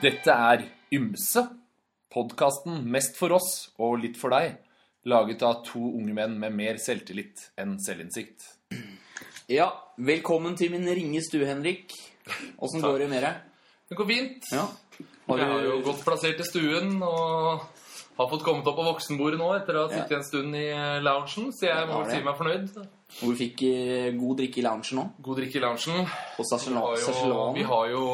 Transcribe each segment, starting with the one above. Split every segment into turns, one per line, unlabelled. Dette er Ymse, podkasten mest for oss og litt for deg, laget av to unge menn med mer selvtillit enn selvinnsikt.
Ja, velkommen til min ringe stue, Henrik. Åssen går det med deg?
Det går fint.
Ja.
Jeg er jo
Har du,
godt plassert i stuen og har fått kommet opp på voksenbordet nå etter å ha sittet en stund i eh, loungen, så jeg må
Ja, det.
si meg fornøyd.
og du fikk eh, god drikke i loungen nå?
God drikke i loungen.
Og
Vi har jo- Vi
sasjelan?
har jo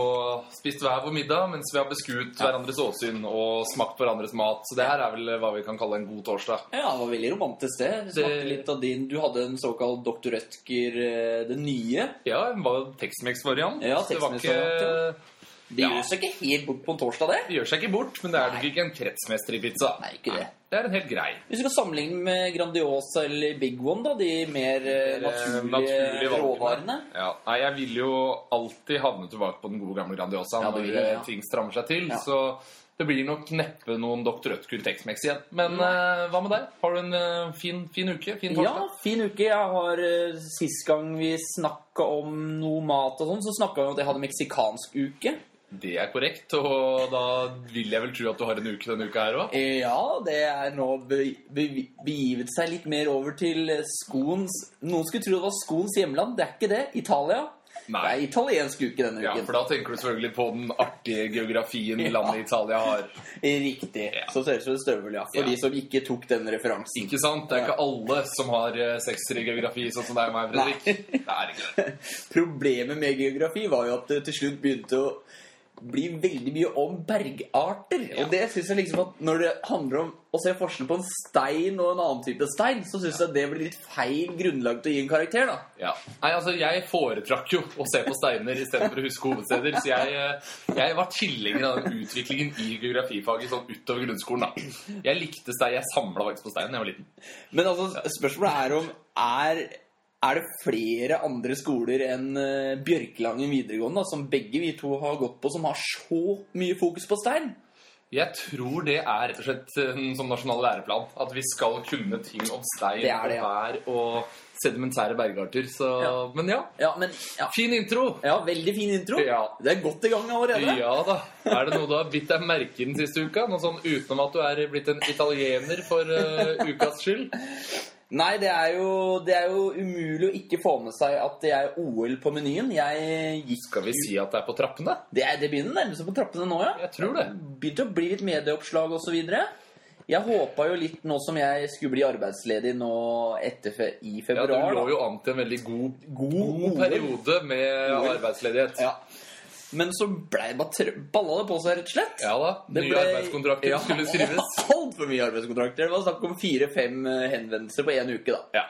spist hver vår middag mens vi har beskuet hverandres åsyn og smakt hverandres mat, så det her er vel hva vi kan kalle en god torsdag.
Ja, det var veldig romantisk, det. Du
Det-
Smakte litt av din Du hadde en såkalt Dr. Rødtger, eh, den nye.
Ja, det var jo Tex-Mex-variant.
Ja,
Det var
Tex-Mex-variant,
ikke-
Det
Ja.
gjør seg ikke helt bort på en torsdag, det.
det gjør seg ikke bort, men det er nok ikke en kretsmester i pizza.
Nei, ikke det.
Det er en helt grei.
Hvis du skal sammenligne med Grandiosa eller Big One, da, de mer
Eh,
eh, naturlige,
naturlige valgene.
råvarene
Ja. Nei, jeg vil jo alltid havne tilbake på den gode gamle Grandiosaen
Ja, det
når
vil jeg, ja.
eh, ting strammer seg til.
Ja.
Så det blir nok neppe noen Dr. Rødtkur Tex-Mex igjen. Men eh, hva med deg? Har du en eh, fin, fin uke? Fin
Ja,
torsdag?
fin uke. Jeg har eh, Sist gang vi snakka om noe mat og sånn, så snakka vi om at jeg hadde meksikansk uke.
Det er korrekt, og da vil jeg vel tro at du har en uke denne uka her òg.
Eh, Ja, det er nå be be begivet seg litt mer over til eh, skoens Noen skulle tro det var skoens hjemland. Det er ikke det. Italia.
Nei.
Det er italiensk uke denne
Ja,
uken.
for da tenker du selvfølgelig på den artige geografien landet Italia har.
Riktig.
Ja.
Så ser det ut som en støvel, ja. For
Ja.
de som ikke tok den referansen.
Ikke sant? Det er ikke alle som har eh, sekser i geografi, sånn som deg og meg, Fredrik. Det er ikke det.
Problemet med geografi var jo at det til slutt begynte å bli veldig mye om bergarter. Og det synes jeg liksom at når det handler om å se forskjell på en stein og en annen type stein, så syns jeg det blir litt feil grunnlag til å gi en karakter, da.
Ja. Nei, altså, Jeg foretrakk jo å se på steiner istedenfor å huske hovedsteder. Så jeg, eh, jeg var tilhenger av den utviklingen i geografifaget sånn utover grunnskolen. da. Jeg likte stein. Jeg samla faktisk på steinen da jeg var liten.
Men altså, spørsmålet er om er, er det flere andre skoler enn eh, Bjørkelangen videregående, da, som begge vi to har gått på, som har så mye fokus på stein?
Jeg tror det er rett og slett en sånn nasjonal læreplan. At vi skal kunne ting om stein
Det er det, ja.
og vær og sedimentære bergarter. Så,
Ja.
Men ja,
Ja, men ja.
fin intro!
ja, veldig fin intro.
Ja.
Det er godt i gang allerede.
Ja da. Er det noe du har bitt deg merke i den siste uka? Noe sånn utenom at du er blitt en italiener for eh, ukas skyld?
Nei, det er, jo, det er jo umulig å ikke få med seg at det er OL på menyen. Jeg gikk
Skal vi si at det er på trappene?
Det, er, det begynner nærmest på trappene nå, ja.
Jeg tror det.
Begynte å bli litt medieoppslag osv. Jeg håpa jo litt nå som jeg skulle bli arbeidsledig nå etter fe i
Ja,
februar.
du lå
da.
jo an til en veldig god,
God
god periode med
OL.
arbeidsledighet.
Ja. Men så blei bare tr- balla det på seg, rett og slett.
Ja da.
Det
Nye
ble-
arbeidskontrakter
Ja,
skulle skrives.
Altfor mye arbeidskontrakter. Det var snakk om fire-fem eh, henvendelser på én uke, da.
Ja.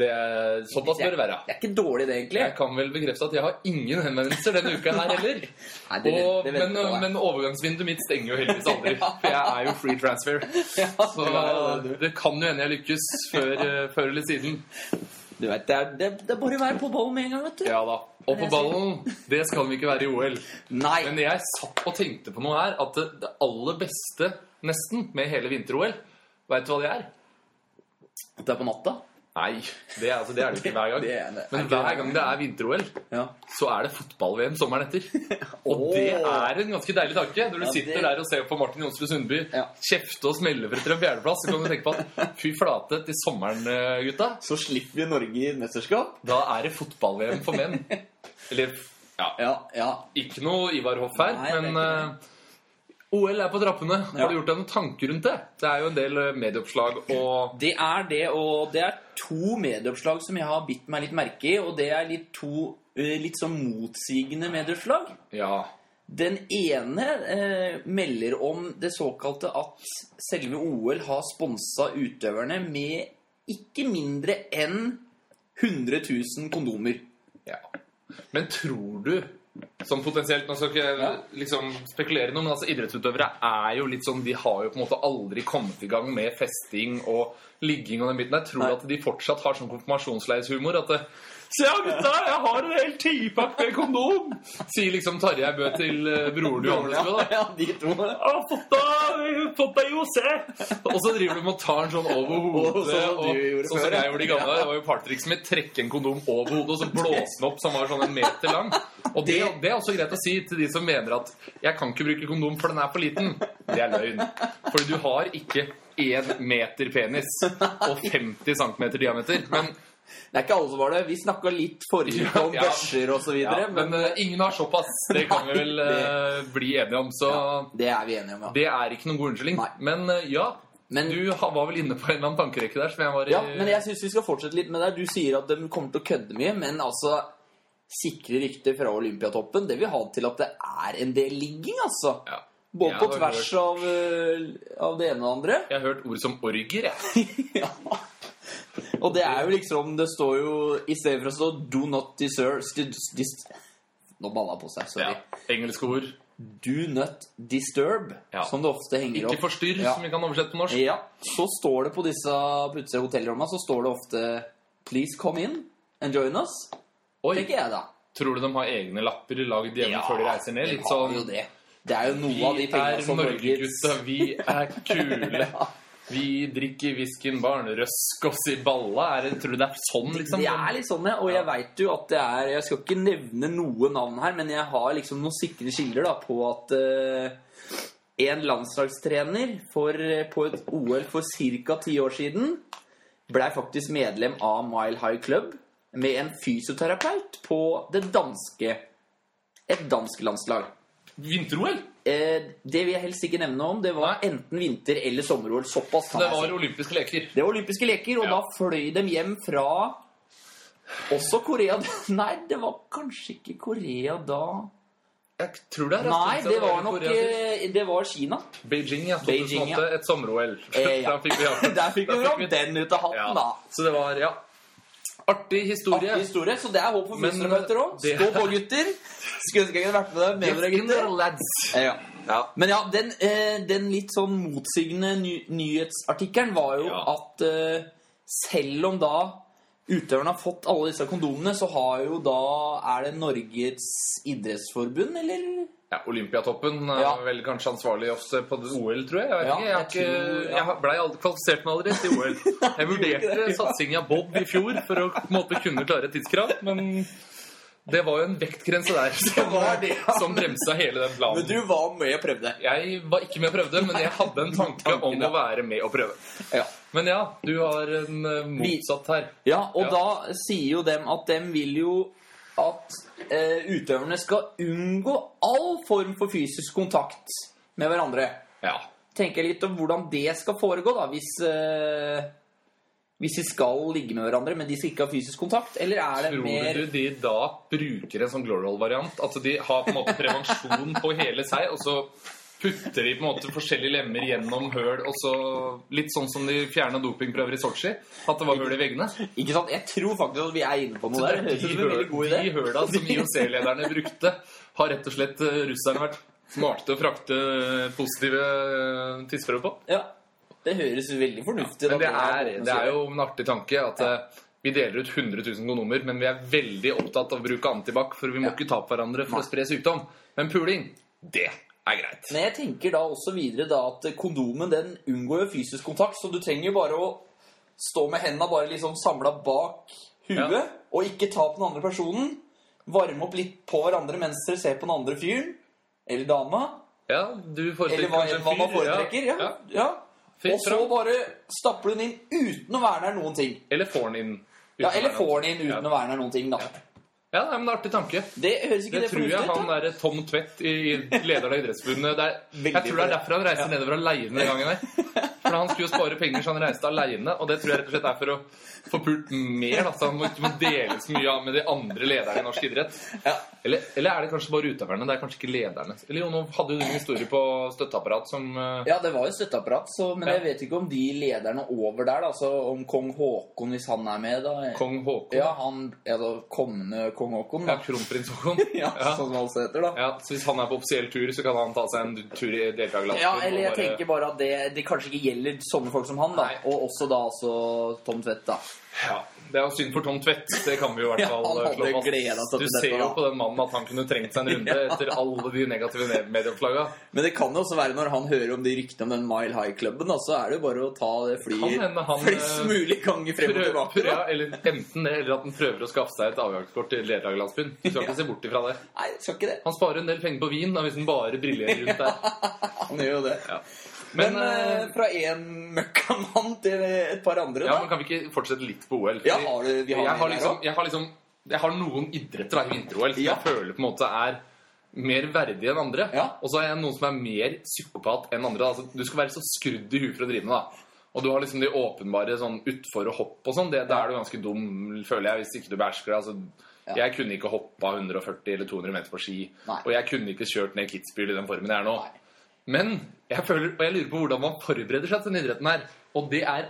Det er, såpass bør det være.
Det er ikke dårlig, det, egentlig.
Jeg kan vel bekrefte at jeg har ingen henvendelser denne uka her heller.
Nei, det vet-
Og,
det vet
men, eh,
jeg ikke.
men overgangsvinduet mitt stenger jo heldigvis aldri, for jeg er jo free transfer.
Ja,
Så
det var jo det, du.
det kan jo hende jeg lykkes før, eh, før eller siden.
Du vet, det, er, det, det er bare å være på ballen med en gang, vet du.
Ja da. Og på ballen, det skal vi ikke være i OL.
Nei.
Men jeg satt og tenkte på noe her, at det, det aller beste nesten med hele vinter-OL, veit du hva det er?
Det er på natta.
Nei, det er, altså, det er det jo ikke hver gang.
Det er det. Er
Men
ikke
hver
det?
gang det er vinter-OL,
Ja.
så er det fotball-VM sommeren etter. Og
Åh.
det er en ganske deilig tanke. Når du
Ja,
sitter
det-
der og ser på Martin Jonsrud Sundby
Ja.
kjefte og smelle for etter en fjerdeplass, så kan du tenke på at fy flate til sommeren, eh, gutta.
Så slipper vi Norge i mesterskap.
Da er det fotball-VM for menn. Eller ja,
Ja, ja.
ikke noe Ivar Hoff her,
Nei, det er
men
ikke
eh, OL er på trappene.
Ja.
Har du gjort deg noen tanker rundt det? Det er jo en del eh, medieoppslag og
Det er det, og det er to medieoppslag som jeg har bitt meg litt merke i, og det er litt to eh, litt sånn motsigende medieoppslag.
Ja.
Den ene eh, melder om det såkalte at selve OL har sponsa utøverne med ikke mindre enn 100 000 kondomer.
Ja. Men tror du som potensielt, Nå skal ikke jeg liksom spekulere noe, men altså idrettsutøvere er jo litt sånn De har jo på en måte aldri kommet i gang med festing og ligging og den biten der. Tror du
Nei.
at de fortsatt har sånn konfirmasjonsleirshumor? At det, Se her, gutta! Jeg har en hel tipakk med kondom! Sier liksom Tarjei Bø til eh, broren Johannes Bø, da.
Ja, de to. da.
Å, potta, potta Jose! Og så driver du med å ta den sånn over hodet.
Og sånn som du
og-
gjorde
sånn
før,
som
ja.
jeg gjorde i gamle. Det var jo partrikset mitt. Trekke en kondom over hodet, og så blåse den opp som var sånn en meter lang. Og det, det er også greit å si til de som mener at 'jeg kan ikke bruke kondom, for den er for liten'. Det er løgn. Fordi du har ikke én meter penis og 50 cm diameter. Men,
Det er ikke alle som var det. Vi snakka litt forrige uke om
Ja.
børser og så videre,
ja, men eh, ingen har såpass. Det kan vi vel eh, bli enige om. Så
men det er vi enige om, ja.
det er ikke noen god unnskyldning.
Nei.
Men eh, ja,
Men,
Du ha- var vel inne på en eller annen tankerekke der som jeg var i
ja, men jeg syns vi skal fortsette litt med det. Du sier at de kommer til å kødde mye, men altså Sikre rykter fra Olympiatoppen, det vil ha til at det er en del ligging, altså.
Ja.
Både
Jeg
på
har
tvers
hørt-
av, øh, av det ene og det andre.
Jeg har hørt ord som orger, jeg.
ja. Og det er jo liksom Det står jo I stedet for å stå 'do not deserve st- dis- Nå balla jeg på seg.
Ja.
Sorry.
Engelske ord.
Do not disturb,
Ja.
som det ofte henger
Ikke
opp.
forstyrr,
Ja.
som vi kan oversette på norsk.
Ja, Så står det på disse på utsida av hotellrommene så står det ofte 'Please come in and join us'.
Oi,
Tenker jeg, da.
Tror du de har egne lapper lagd hjemme før de reiser ned?
de
Litt
har
sånn
jo det. det er jo noe av de
Vi
pengene
er
som
Norge-gutta, vi er kule.
Ja.
Vi drikker whiskyen barnerøsk oss i balla. Er det, tror du det er sånn, liksom?
Det er litt sånn, ja. Og jeg vet jo at det er Jeg skal ikke nevne noe navn her, men jeg har liksom noen sikre kilder da, på at eh, en landslagstrener for, eh, på et OL for ca. ti år siden blei faktisk medlem av Mile High Club med en fysioterapeut på det danske et dansk landslag.
Vinter-OL!
Eh, det vil jeg helst ikke nevne noe om. Det var
Nei.
enten vinter- eller sommer-OL. Såpass. kan
Det
jeg si.
var olympiske leker.
Det var olympiske leker, og
Ja.
da fløy de hjem fra også Korea Nei, det var kanskje ikke Korea da
Jeg tror det er
Nei,
jeg tror
det
er
var
i
nok
Korea sist.
eh, Det var Kina.
Beijing, ja.
Beijing,
2008.
ja.
Et sommer-OL.
Eh, ja.
Da fikk vi hatt
Der fikk
Da
vi
fikk
fram
vi-
den ut av hatten, da.
Så det var, ja. Artig historie.
Artig historie, så det er håp for
Men,
fysioterapeuter òg.
det-
Stå på, gutter! Skulle ønske jeg kunne vært med deg med dere, gutter. Eh, Ja.
Ja.
Men ja, den, eh, den litt sånn motsigende ny nyhetsartikkelen var jo
Ja.
at eh, selv om da utøverne har fått alle disse kondomene, så har jo da Er det Norges idrettsforbund, eller?
Ja, Olympiatoppen er
Ja.
vel kanskje ansvarlig også på det OL, tror jeg. Jeg, vet
Ja,
ikke. jeg, har
jeg tror-
ikke,
ja.
jeg har- blei aldri kvalifisert meg allerede til OL. Jeg
det,
vurderte
ja.
satsing av bob i fjor for å på en måte kunne klare et tidskrav, men det var jo en vektgrense der som,
var det, ja.
som bremsa hele den planen.
var med og prøvde.
Jeg var ikke med og prøvde, men jeg hadde en tanke
Tanken,
om
ja.
å være med og prøve.
Ja.
Men ja, du har en eh, motsatt her.
Ja, og
Ja.
da sier jo dem at dem vil jo at eh, utøverne skal unngå all form for fysisk kontakt med hverandre.
Ja.
Tenker jeg litt om hvordan det skal foregå, da, hvis eh, hvis de skal ligge med hverandre, men de skal ikke ha fysisk kontakt? Eller er det
Tror
Eh, mer
du de da bruker en sånn Glorol-variant? At de har på en måte prevensjon på hele seg, og så putter de på en måte forskjellige lemmer gjennom høl, og så litt sånn som de fjerna dopingprøver i Sotsji? At det var hull i veggene?
Ikke sant? Jeg tror faktisk at vi er inne på noe der.
De,
Høres ut som en
høl,
veldig god idé.
de høla som IOC-lederne brukte, har rett og slett eh, russerne vært smarte til å frakte eh, positive eh, tidsprøver på.
Ja. Det høres veldig fornuftig ut.
Men det er, det er jo en artig tanke at eh, vi deler ut 100 000 kondomer, men vi er veldig opptatt av å bruke antibac, for vi må ikke ta på hverandre for å spre sykdom. Men puling, det er greit.
Men jeg tenker da også videre da at kondomen den unngår jo fysisk kontakt, så du trenger jo bare å stå med hendene bare liksom samla bak huet,
Ja.
og ikke ta på den andre personen. Varme opp litt på hverandre mens dere ser på den andre fyren eller dama.
Ja, du foretrekker
Eller hva,
kanskje en
hva man
fyr,
foretrekker. Ja. Ja.
Fyr
Og så
fram.
bare stapper hun inn uten å verne her noen ting.
Eller får den inn. uten
Ja, Eller
å være
får
noe.
hun inn uten
Ja.
å verne her noen ting, da.
Ja, det er en artig tanke.
Det høres ikke
Det
det,
tror jeg
fornuftig ut?
han
da?
der Tom Tvedt, i- i- lederen av Idrettsforbundet det er- Jeg
Veldig
tror det er derfor han reiser nedover aleine den gangen der. For han skulle jo spare penger, så han reiste aleine. Og det tror jeg rett og slett er for å få pult mer. Da, så han må ikke må dele så mye av med de andre lederne i norsk idrett.
Ja.
Eller, eller er det kanskje bare utøverne? Det er kanskje ikke lederne. Eller jo, nå hadde jo du en historie på støtteapparat som eh,
Ja, det var jo støtteapparat, så, men
Ja.
jeg vet ikke om de lederne over der, da, altså om kong Haakon, hvis han er med, da
kong Haakon. Ja.
Ja, han altså, kommende kong Haakon, da.
Kronprins Haakon.
Ja,
Ja.
sånn som altså heter, da.
Ja, så hvis han er på offisiell tur, så kan han ta seg en tur i deltakerlandslaget.
Ja, eller jeg tenker bare at det, det kanskje ikke gjelder sånne folk som han, da.
Nei.
Og også da altså Tom Tvedt, da.
ja. Det er jo synd for Tom Tvedt. Det kan vi jo i hvert
Ja,
fall
han
eh, slå
hadde
fast.
gledet seg til
Du
dette,
ser jo
da.
på den mannen at han kunne trengt seg en runde etter alle de negative medieoppslaga.
Men det kan jo også være når han hører om de ryktene om den Mile High-klubben, da, så er det jo bare å ta det
Kan
flyet
hende han,
flest
eh,
mulig ganger frem og
Prøv-
tilbake.
prøv-
Da.
ja, eller Enten det, eller at han prøver å skaffe seg et avgangskort til lederlagsbyen. Du skal
Ja.
ikke se bort ifra det.
Nei, jeg skal ikke det.
Han sparer en del penger på vin da, hvis han bare brillerer rundt der.
Han gjør jo det.
Ja.
Men,
Men, eh,
eh, fra én møkkamann til et par andre,
ja,
da?
men kan vi ikke fortsette litt på OL?
Ja,
Fordi
har du, vi har
jeg,
med
har
der
liksom,
også.
jeg har liksom Jeg har noen idretter da, i vinter-OL som
Ja.
jeg føler på en måte er mer verdige enn andre.
Ja.
Og så har jeg noen som er mer psykopat enn andre. da. Altså, du skal være så skrudd i huet for å drive med da. Og du har liksom de åpenbare sånn utfor og hopp og sånn. Det- Da er du ganske dum, føler jeg, hvis ikke du behersker det. Altså,
Ja.
Jeg kunne ikke hoppa 140 eller 200 meter på ski.
Nei.
Og jeg kunne ikke kjørt ned Kitzbühel i den formen jeg er nå. Men jeg føler, og jeg lurer på hvordan man forbereder seg til denne idretten her. Og det er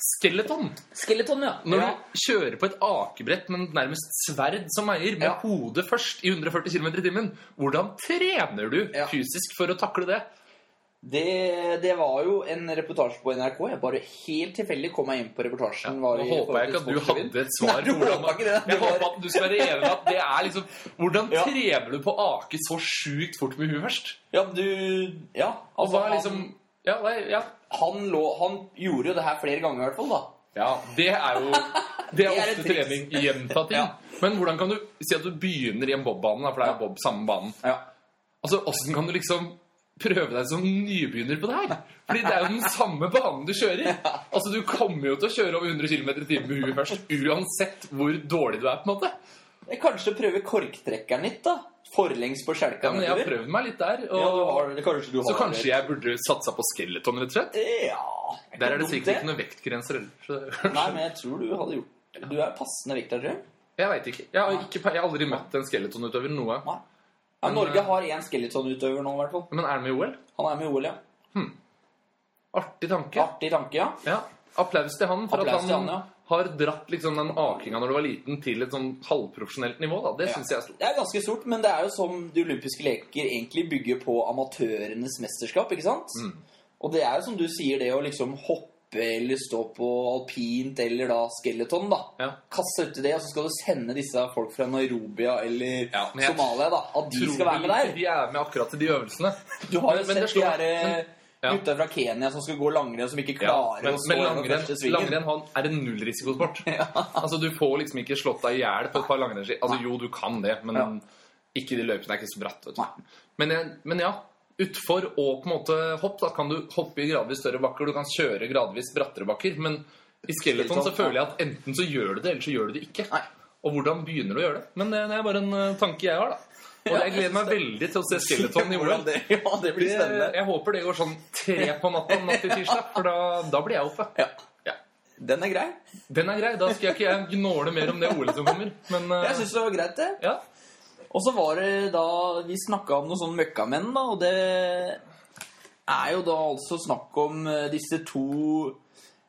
skeleton.
Skeleton, ja.
Når
ja.
du kjører på et akebrett med nærmest sverd som eier, med
Ja.
hodet først i 140 km i timen, hvordan trener du
Ja.
fysisk for å takle det?
Det, det var jo en reportasje på NRK. Jeg bare helt tilfeldig kom meg inn på reportasjen. var
Nå
i
håper jeg ikke
forhold
at
til
du
sportsrevyen.
hadde et svar på
Nei, du
hvordan
håper
man
ikke det.
Jeg
Det var-
håper at du skal være enig i at det er liksom Hvordan
Ja.
trener du på å ake så sjukt fort med huet først?
Ja, du Ja.
Og
Altså,
hva er liksom Ja, nei, ja.
han, han, lå, han gjorde jo det her flere ganger, i hvert fall. da
ja det er jo Det
er
er
et
ofte
triks.
trening i gjentatt ting.
Ja.
Men hvordan kan du si at du begynner i en bobbane, da, for det er jo bob samme banen?
Ja.
Altså, Åssen kan du liksom prøve deg som nybegynner på det her? Fordi det er jo den samme banen du kjører. Altså, Du kommer jo til å kjøre over 100 km i timen med huet først, uansett hvor dårlig du er. på en måte.
Jeg kanskje prøve korktrekkeren litt, da. Forlengs på skjelka
Ja, men Jeg har prøvd meg litt der.
Ja, du
og...
har, det kanskje du har
Så kanskje jeg burde satsa på skeleton, rett og slett?
Ja ikke
Der er det
dumt,
sikkert ikke noen vektgrenser heller. så-
Nei, men jeg tror du hadde gjort Du er passende vekt der, tror jeg.
Jeg veit ikke. Jeg har, ikke. jeg har aldri møtt en skeletonutøver noe.
Nei. Ja,
Men,
Norge
eh,
har én skeletonutøver nå, i hvert fall.
Men er den med i OL?
Han er med i OL, ja.
Artig tanke.
Artig tanke, ja.
Ja. Applaus til han for
Applaus
at
til
han
han, ja.
har dratt liksom den akinga når du var liten, til et sånn halvprofesjonelt nivå. da. Det
Ja.
synes jeg er stort.
Det er ganske stort, men det er jo som de olympiske leker egentlig bygger på amatørenes mesterskap, ikke sant?
Mm.
Og det er jo som du sier, det å liksom hoppe eller stå på alpint eller da skeleton, da.
Ja.
Kaste uti det, og så skal du sende disse folk fra Narobia eller
Ja, men jeg
Somalia, da. At de
Tror
skal være
vel
med
ikke
der.
De er med akkurat til de øvelsene.
Du har jo
Men- men det
sett de
slår-
her eh,
ja.
gutta fra Kenya som skal gå langrenn, som ikke
Ja,
klarer
men
å stå
men
gjennom
langrenn,
første svingen.
langrenn har- er en nullrisikosport. Altså, du får liksom ikke slått deg i hjel på et par langrennsski. Altså, jo, du kan det, men
Ja.
ikke de løypene er ikke så bratt. Vet du.
Nei.
Men, jeg- men ja, utfor og på en måte hopp, da kan du hoppe i gradvis større bakker. Du kan kjøre gradvis brattere bakker. Men i skeleton så
Skeleton,
føler jeg at enten så gjør du det, eller så gjør du det ikke.
Nei.
Og hvordan begynner du å gjøre det? Men det, det er bare en eh, tanke jeg har, da. Og jeg gleder meg veldig til å se skeleton i OL.
Hvordan det- Ja, det blir
Det-
spennende.
Jeg håper det går sånn tre på natta natt til tirsdag, for da, da blir jeg oppe.
Ja.
Ja.
Den er grei.
Den er grei. Da skal jeg ikke jeg gnåle mer om det OL som kommer. Men eh,
Jeg syns det var greit, det.
ja.
Og så var det da Vi snakka om noen sånne møkkamenn, da, og det er jo da altså snakk om eh, disse to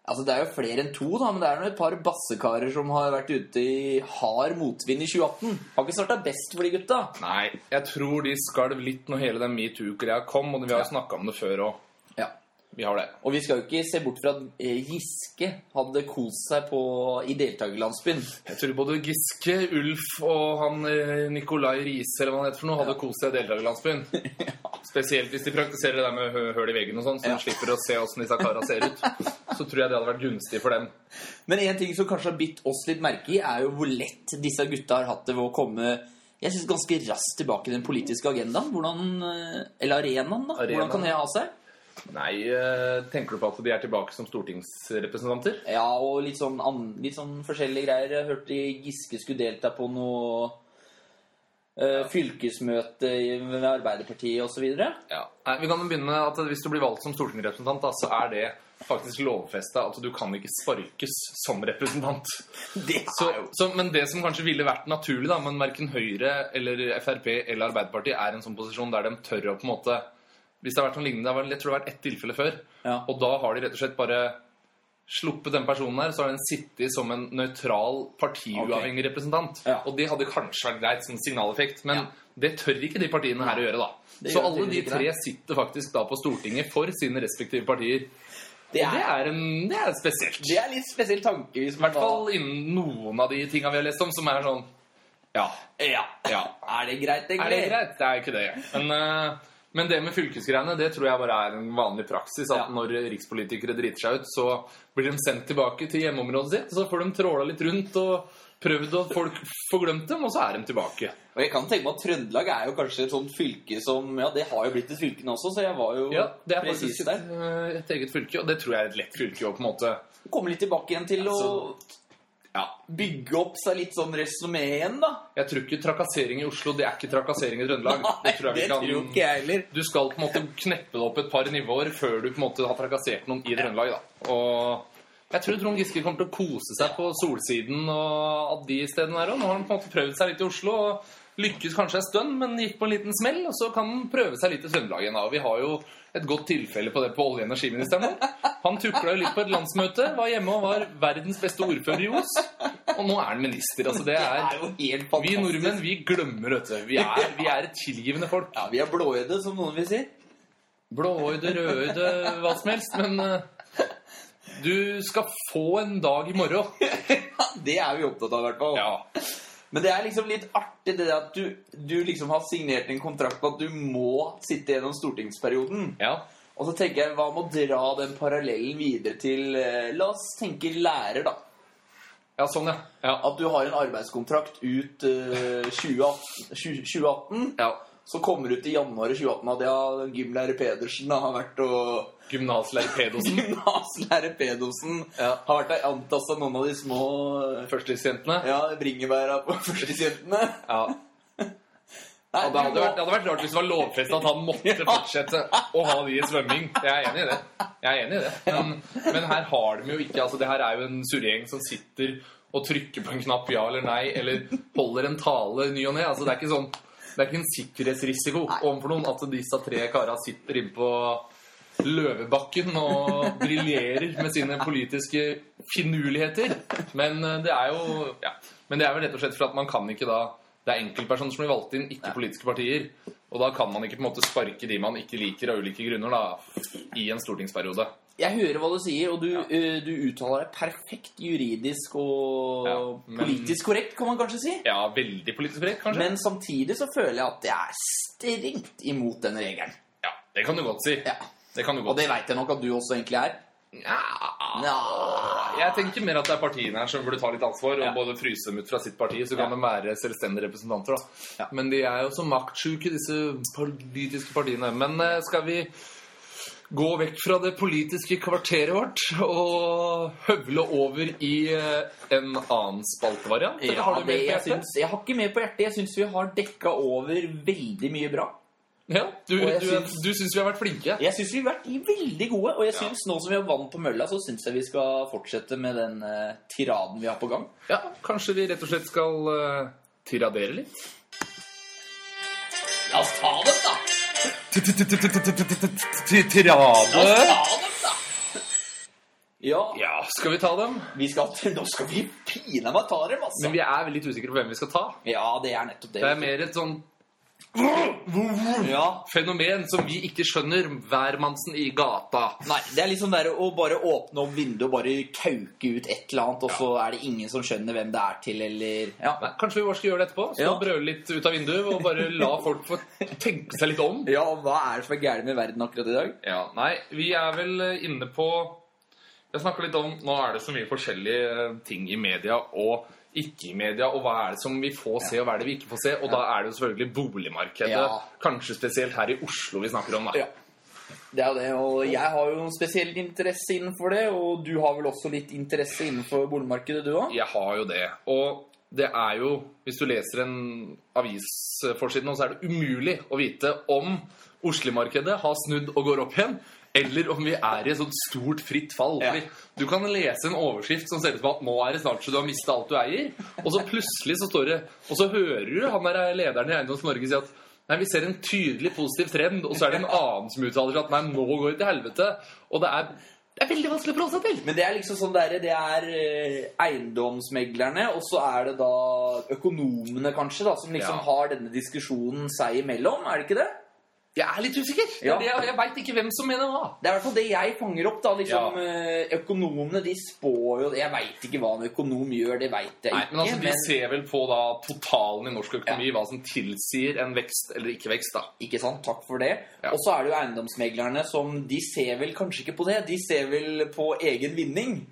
Altså Det er jo flere enn to, da, men det er nå et par bassekarer som har vært ute i hard motvind i 2018. Har ikke starta best for de gutta.
Nei, jeg tror de skalv litt når hele den metoo-greia kom, og vi har jo snakka om det før òg.
Ja.
Vi har det.
Og vi skal jo ikke se bort fra at eh, Giske hadde kost seg på, i deltakerlandsbyen.
Jeg tror både Giske, Ulf og han eh, Nikolai Riise eller hva han heter for noe, hadde kost seg i deltakerlandsbyen. Spesielt hvis de praktiserer det der med hø- høl i veggen og sånn, så
Ja.
de slipper å se åssen disse kara ser ut. Så tror jeg det hadde vært gunstig for dem.
Men en ting som kanskje har bitt oss litt merke i, er jo hvor lett disse gutta har hatt det ved å komme jeg synes ganske raskt tilbake i den politiske agendaen. Hvordan, eh, eller arenaen, da.
Arenaen.
Hvordan kan det ha seg?
Nei, eh, tenker du på at de er tilbake som stortingsrepresentanter?
Ja, og litt sånn, an, litt sånn forskjellige greier. Jeg hørte Giske skulle delta på noe eh, fylkesmøte i- med Arbeiderpartiet osv.
Ja. Nei, vi kan jo begynne at Hvis du blir valgt som stortingsrepresentant, da, så er det faktisk lovfesta at du kan ikke sparkes som representant.
Det er
Så, så, men det som kanskje ville vært naturlig, da, men verken Høyre eller Frp eller Arbeiderpartiet er i en sånn posisjon der de tør å på en måte Hvis det har vært noe lignende, det har vært- jeg tror det har vært ett tilfelle før,
Ja.
og da har de rett og slett bare sluppet den personen her, så har den sittet som en nøytral, partiuavhengig representant.
Ja.
Og det hadde kanskje vært greit som signaleffekt, men
Ja.
det tør ikke de partiene her å gjøre, da.
Det
Så
gjør
alle de
tydeligvis ikke
tre sitter faktisk da på Stortinget for sine respektive partier. Det
Det er,
er, en, det er spesielt.
det er litt spesiell tanke. Hvis
I hvert fall innen noen av de tinga vi har lest om, som er sånn Ja.
Ja.
ja.
Er det greit,
Er
egentlig?
det greit? Det er jo ikke det. Men, eh, men det med fylkesgreiene det tror jeg bare er en vanlig praksis. At
Ja.
når rikspolitikere driter seg ut, så blir de sendt tilbake til hjemmeområdet sitt. Og så får de tråla litt rundt og prøvd, og folk får glemt dem, og så er de tilbake.
Og jeg kan tenke meg at Trøndelag er jo kanskje et sånt fylke som Ja, det har jo blitt et fylke nå også, så jeg var jo
Ja, Det er
presis
faktisk et,
der.
eh, et eget fylke, og det tror jeg er et lett fylke å på en måte
Komme litt tilbake igjen til
Altså,
å
ja.
bygge opp seg litt sånn resumé igjen, da.
Jeg tror ikke trakassering i Oslo, det er ikke trakassering i Trøndelag.
Nei, det tror jo ikke jeg heller.
du skal på en måte kneppe det opp et par nivåer før du på en måte har trakassert noen i Trøndelag. da. Og jeg tror Trond Giske kommer til å kose seg på Solsiden og de stedene der òg. Nå har han på en måte prøvd seg litt i Oslo og lykkes kanskje en stund, men gikk på en liten smell. Og så kan han prøve seg litt i Trøndelag igjen. da. Og vi har jo et godt tilfelle på det på olje- og energiministeren vår. Han tukla jo litt på et landsmøte, var hjemme og var verdens beste ordfører i Os. Og nå er han minister. altså det
Det er
er...
jo helt
Vi
fantastisk.
nordmenn vi glemmer, vet du. Vi er, vi er et tilgivende folk.
Ja, vi er blåøyde, som noen vil si.
Blåøyde, rødøyde, hva som helst. Men eh, du skal få en dag i morgen.
Det er vi opptatt av, i hvert fall.
Ja.
Men det er liksom litt artig det at du, du liksom har signert en kontrakt på at du må sitte gjennom stortingsperioden.
ja.
Og så tenker jeg, hva med å dra den parallellen videre til eh, La oss tenke lærer, da.
Ja, sånn, ja. ja.
At du har en arbeidskontrakt ut eh, 2018, 2018.
ja.
Så kommer du til januar i 2018 at ja, gymlærer Pedersen da, har vært og
Gymnaslærer Pedersen.
Gymnaslærer Pedersen
Ja.
har vært der antastet av noen av de små eh,
Førstehjelpsjentene.
Ja, bringebæra på førstehjelpene.
Ja.
Nei,
Ja, det, hadde
du må-
vært, det hadde vært rart hvis det var lovfesta at han måtte fortsette å ha de i svømming. Jeg er enig i det. Jeg er enig i det. Men, men her har de jo ikke altså Det her er jo en surregjeng som sitter og trykker på en knapp ja eller nei, eller holder en tale i ny og ne. Altså, det er ikke sånn Det er ikke en sikkerhetsrisiko overfor noen at disse tre kara sitter inne på Løvebakken og briljerer med sine politiske finurligheter. Men eh, det er jo ja. Men det er vel rett og slett for at man kan ikke da Det er enkeltpersoner som blir valgt inn, ikke politiske partier. Og da kan man ikke på en måte sparke de man ikke liker av ulike grunner, da, i en stortingsperiode.
Jeg hører hva du sier, og du, eh, du uttaler deg perfekt juridisk og
Ja, men-
politisk korrekt, kan man kanskje si.
Ja, veldig politisk korrekt, kanskje?
Men samtidig så føler jeg at det er strengt imot den regelen.
ja, det kan du godt si.
Ja.
Det kan du
Og
godt
det veit jeg nok at du også egentlig er.
ja.
Ja.
Jeg tenker mer at det er partiene her som burde ta litt ansvar og
Ja.
både fryse dem ut fra sitt parti, så kan de
Ja.
være selvstendige representanter. da.
Ja.
Men de er jo så maktsjuke, disse politiske partiene. Men eh, skal vi gå vekk fra det politiske kvarteret vårt og høvle over i eh, en annen spaltevariant? Eller
Ja,
har du
det,
mer på
jeg,
hjertet?
syns, jeg har ikke mer på hjertet. Jeg syns vi har dekka over veldig mye bra.
Ja, du,
Og jeg
du,
syns-
du syns vi har vært flinke?
Jeg syns vi har vært veldig gode, og jeg
Ja.
syns nå som vi har vann på mølla, så syns jeg vi skal fortsette med den eh, tiraden vi har på gang.
Ja, kanskje vi rett og slett skal eh, tiradere litt?
La oss ta dem, da!
Tirade?
Ja,
Ja, skal vi ta dem?
vi skal, nå skal vi pine meg ta dem, altså!
Men vi er litt usikre på hvem vi skal ta.
Ja, det er nettopp det.
Det er mer et sånn
Ja,
fenomen som vi ikke skjønner, hvermannsen i gata.
Nei, det er liksom der å bare åpne opp vinduet og bare kauke ut et eller annet, og så er det ingen som skjønner hvem det er til, eller Ja.
Nei, kanskje vi bare skal gjøre det etterpå? Stå
Ja.
og brøle litt ut av vinduet og bare la folk få tenke seg litt om?
ja hva er det som er gærent med verden akkurat i dag?
Ja, nei, vi er vel eh, inne på Jeg snakker litt om Nå er det så mye forskjellige eh, ting i media og ikke i media, og hva er det som vi får se, og hva er det vi ikke får se? Og da er det jo selvfølgelig boligmarkedet.
Ja.
Kanskje spesielt her i Oslo vi snakker om, da.
Ja. Det er jo det, og jeg har jo noen spesiell interesse innenfor det, og du har vel også litt interesse innenfor boligmarkedet, du òg?
Jeg har jo det. Og det er jo Hvis du leser en avisforside nå, så er det umulig å vite om Oslo-markedet har snudd og går opp igjen. Eller om vi er i et sånt stort, fritt fall.
Ja.
Fordi Du kan lese en overskrift som ser ut som at nå er det snart så du har mista alt du eier. Og så plutselig så står det Og så hører du han der lederen i Eiendoms Norge si at Nei, Vi ser en tydelig positiv trend, og så er det en annen som uttaler seg at nei, nå går det til helvete. Og det er, det er veldig vanskelig å forholde seg til.
Men det er liksom sånn der, det er eh, eiendomsmeglerne, og så er det da økonomene, kanskje, da, som liksom
Ja.
har denne diskusjonen seg imellom, er det ikke det?
Jeg er litt usikker. Det
Ja.
er det Jeg, jeg veit ikke hvem som mener hva.
Det er i hvert fall det jeg fanger opp. da, liksom,
Ja.
eh, Økonomene de spår jo Jeg veit ikke hva en økonom gjør, det veit jeg
Nei,
ikke.
men altså, Vi ser vel på da totalen i norsk økonomi, hva som tilsier en vekst eller ikke vekst. da.
Ikke sant? Takk for det.
Ja.
Og så er det jo eiendomsmeglerne som De ser vel kanskje ikke på det. De ser vel på egen vinning.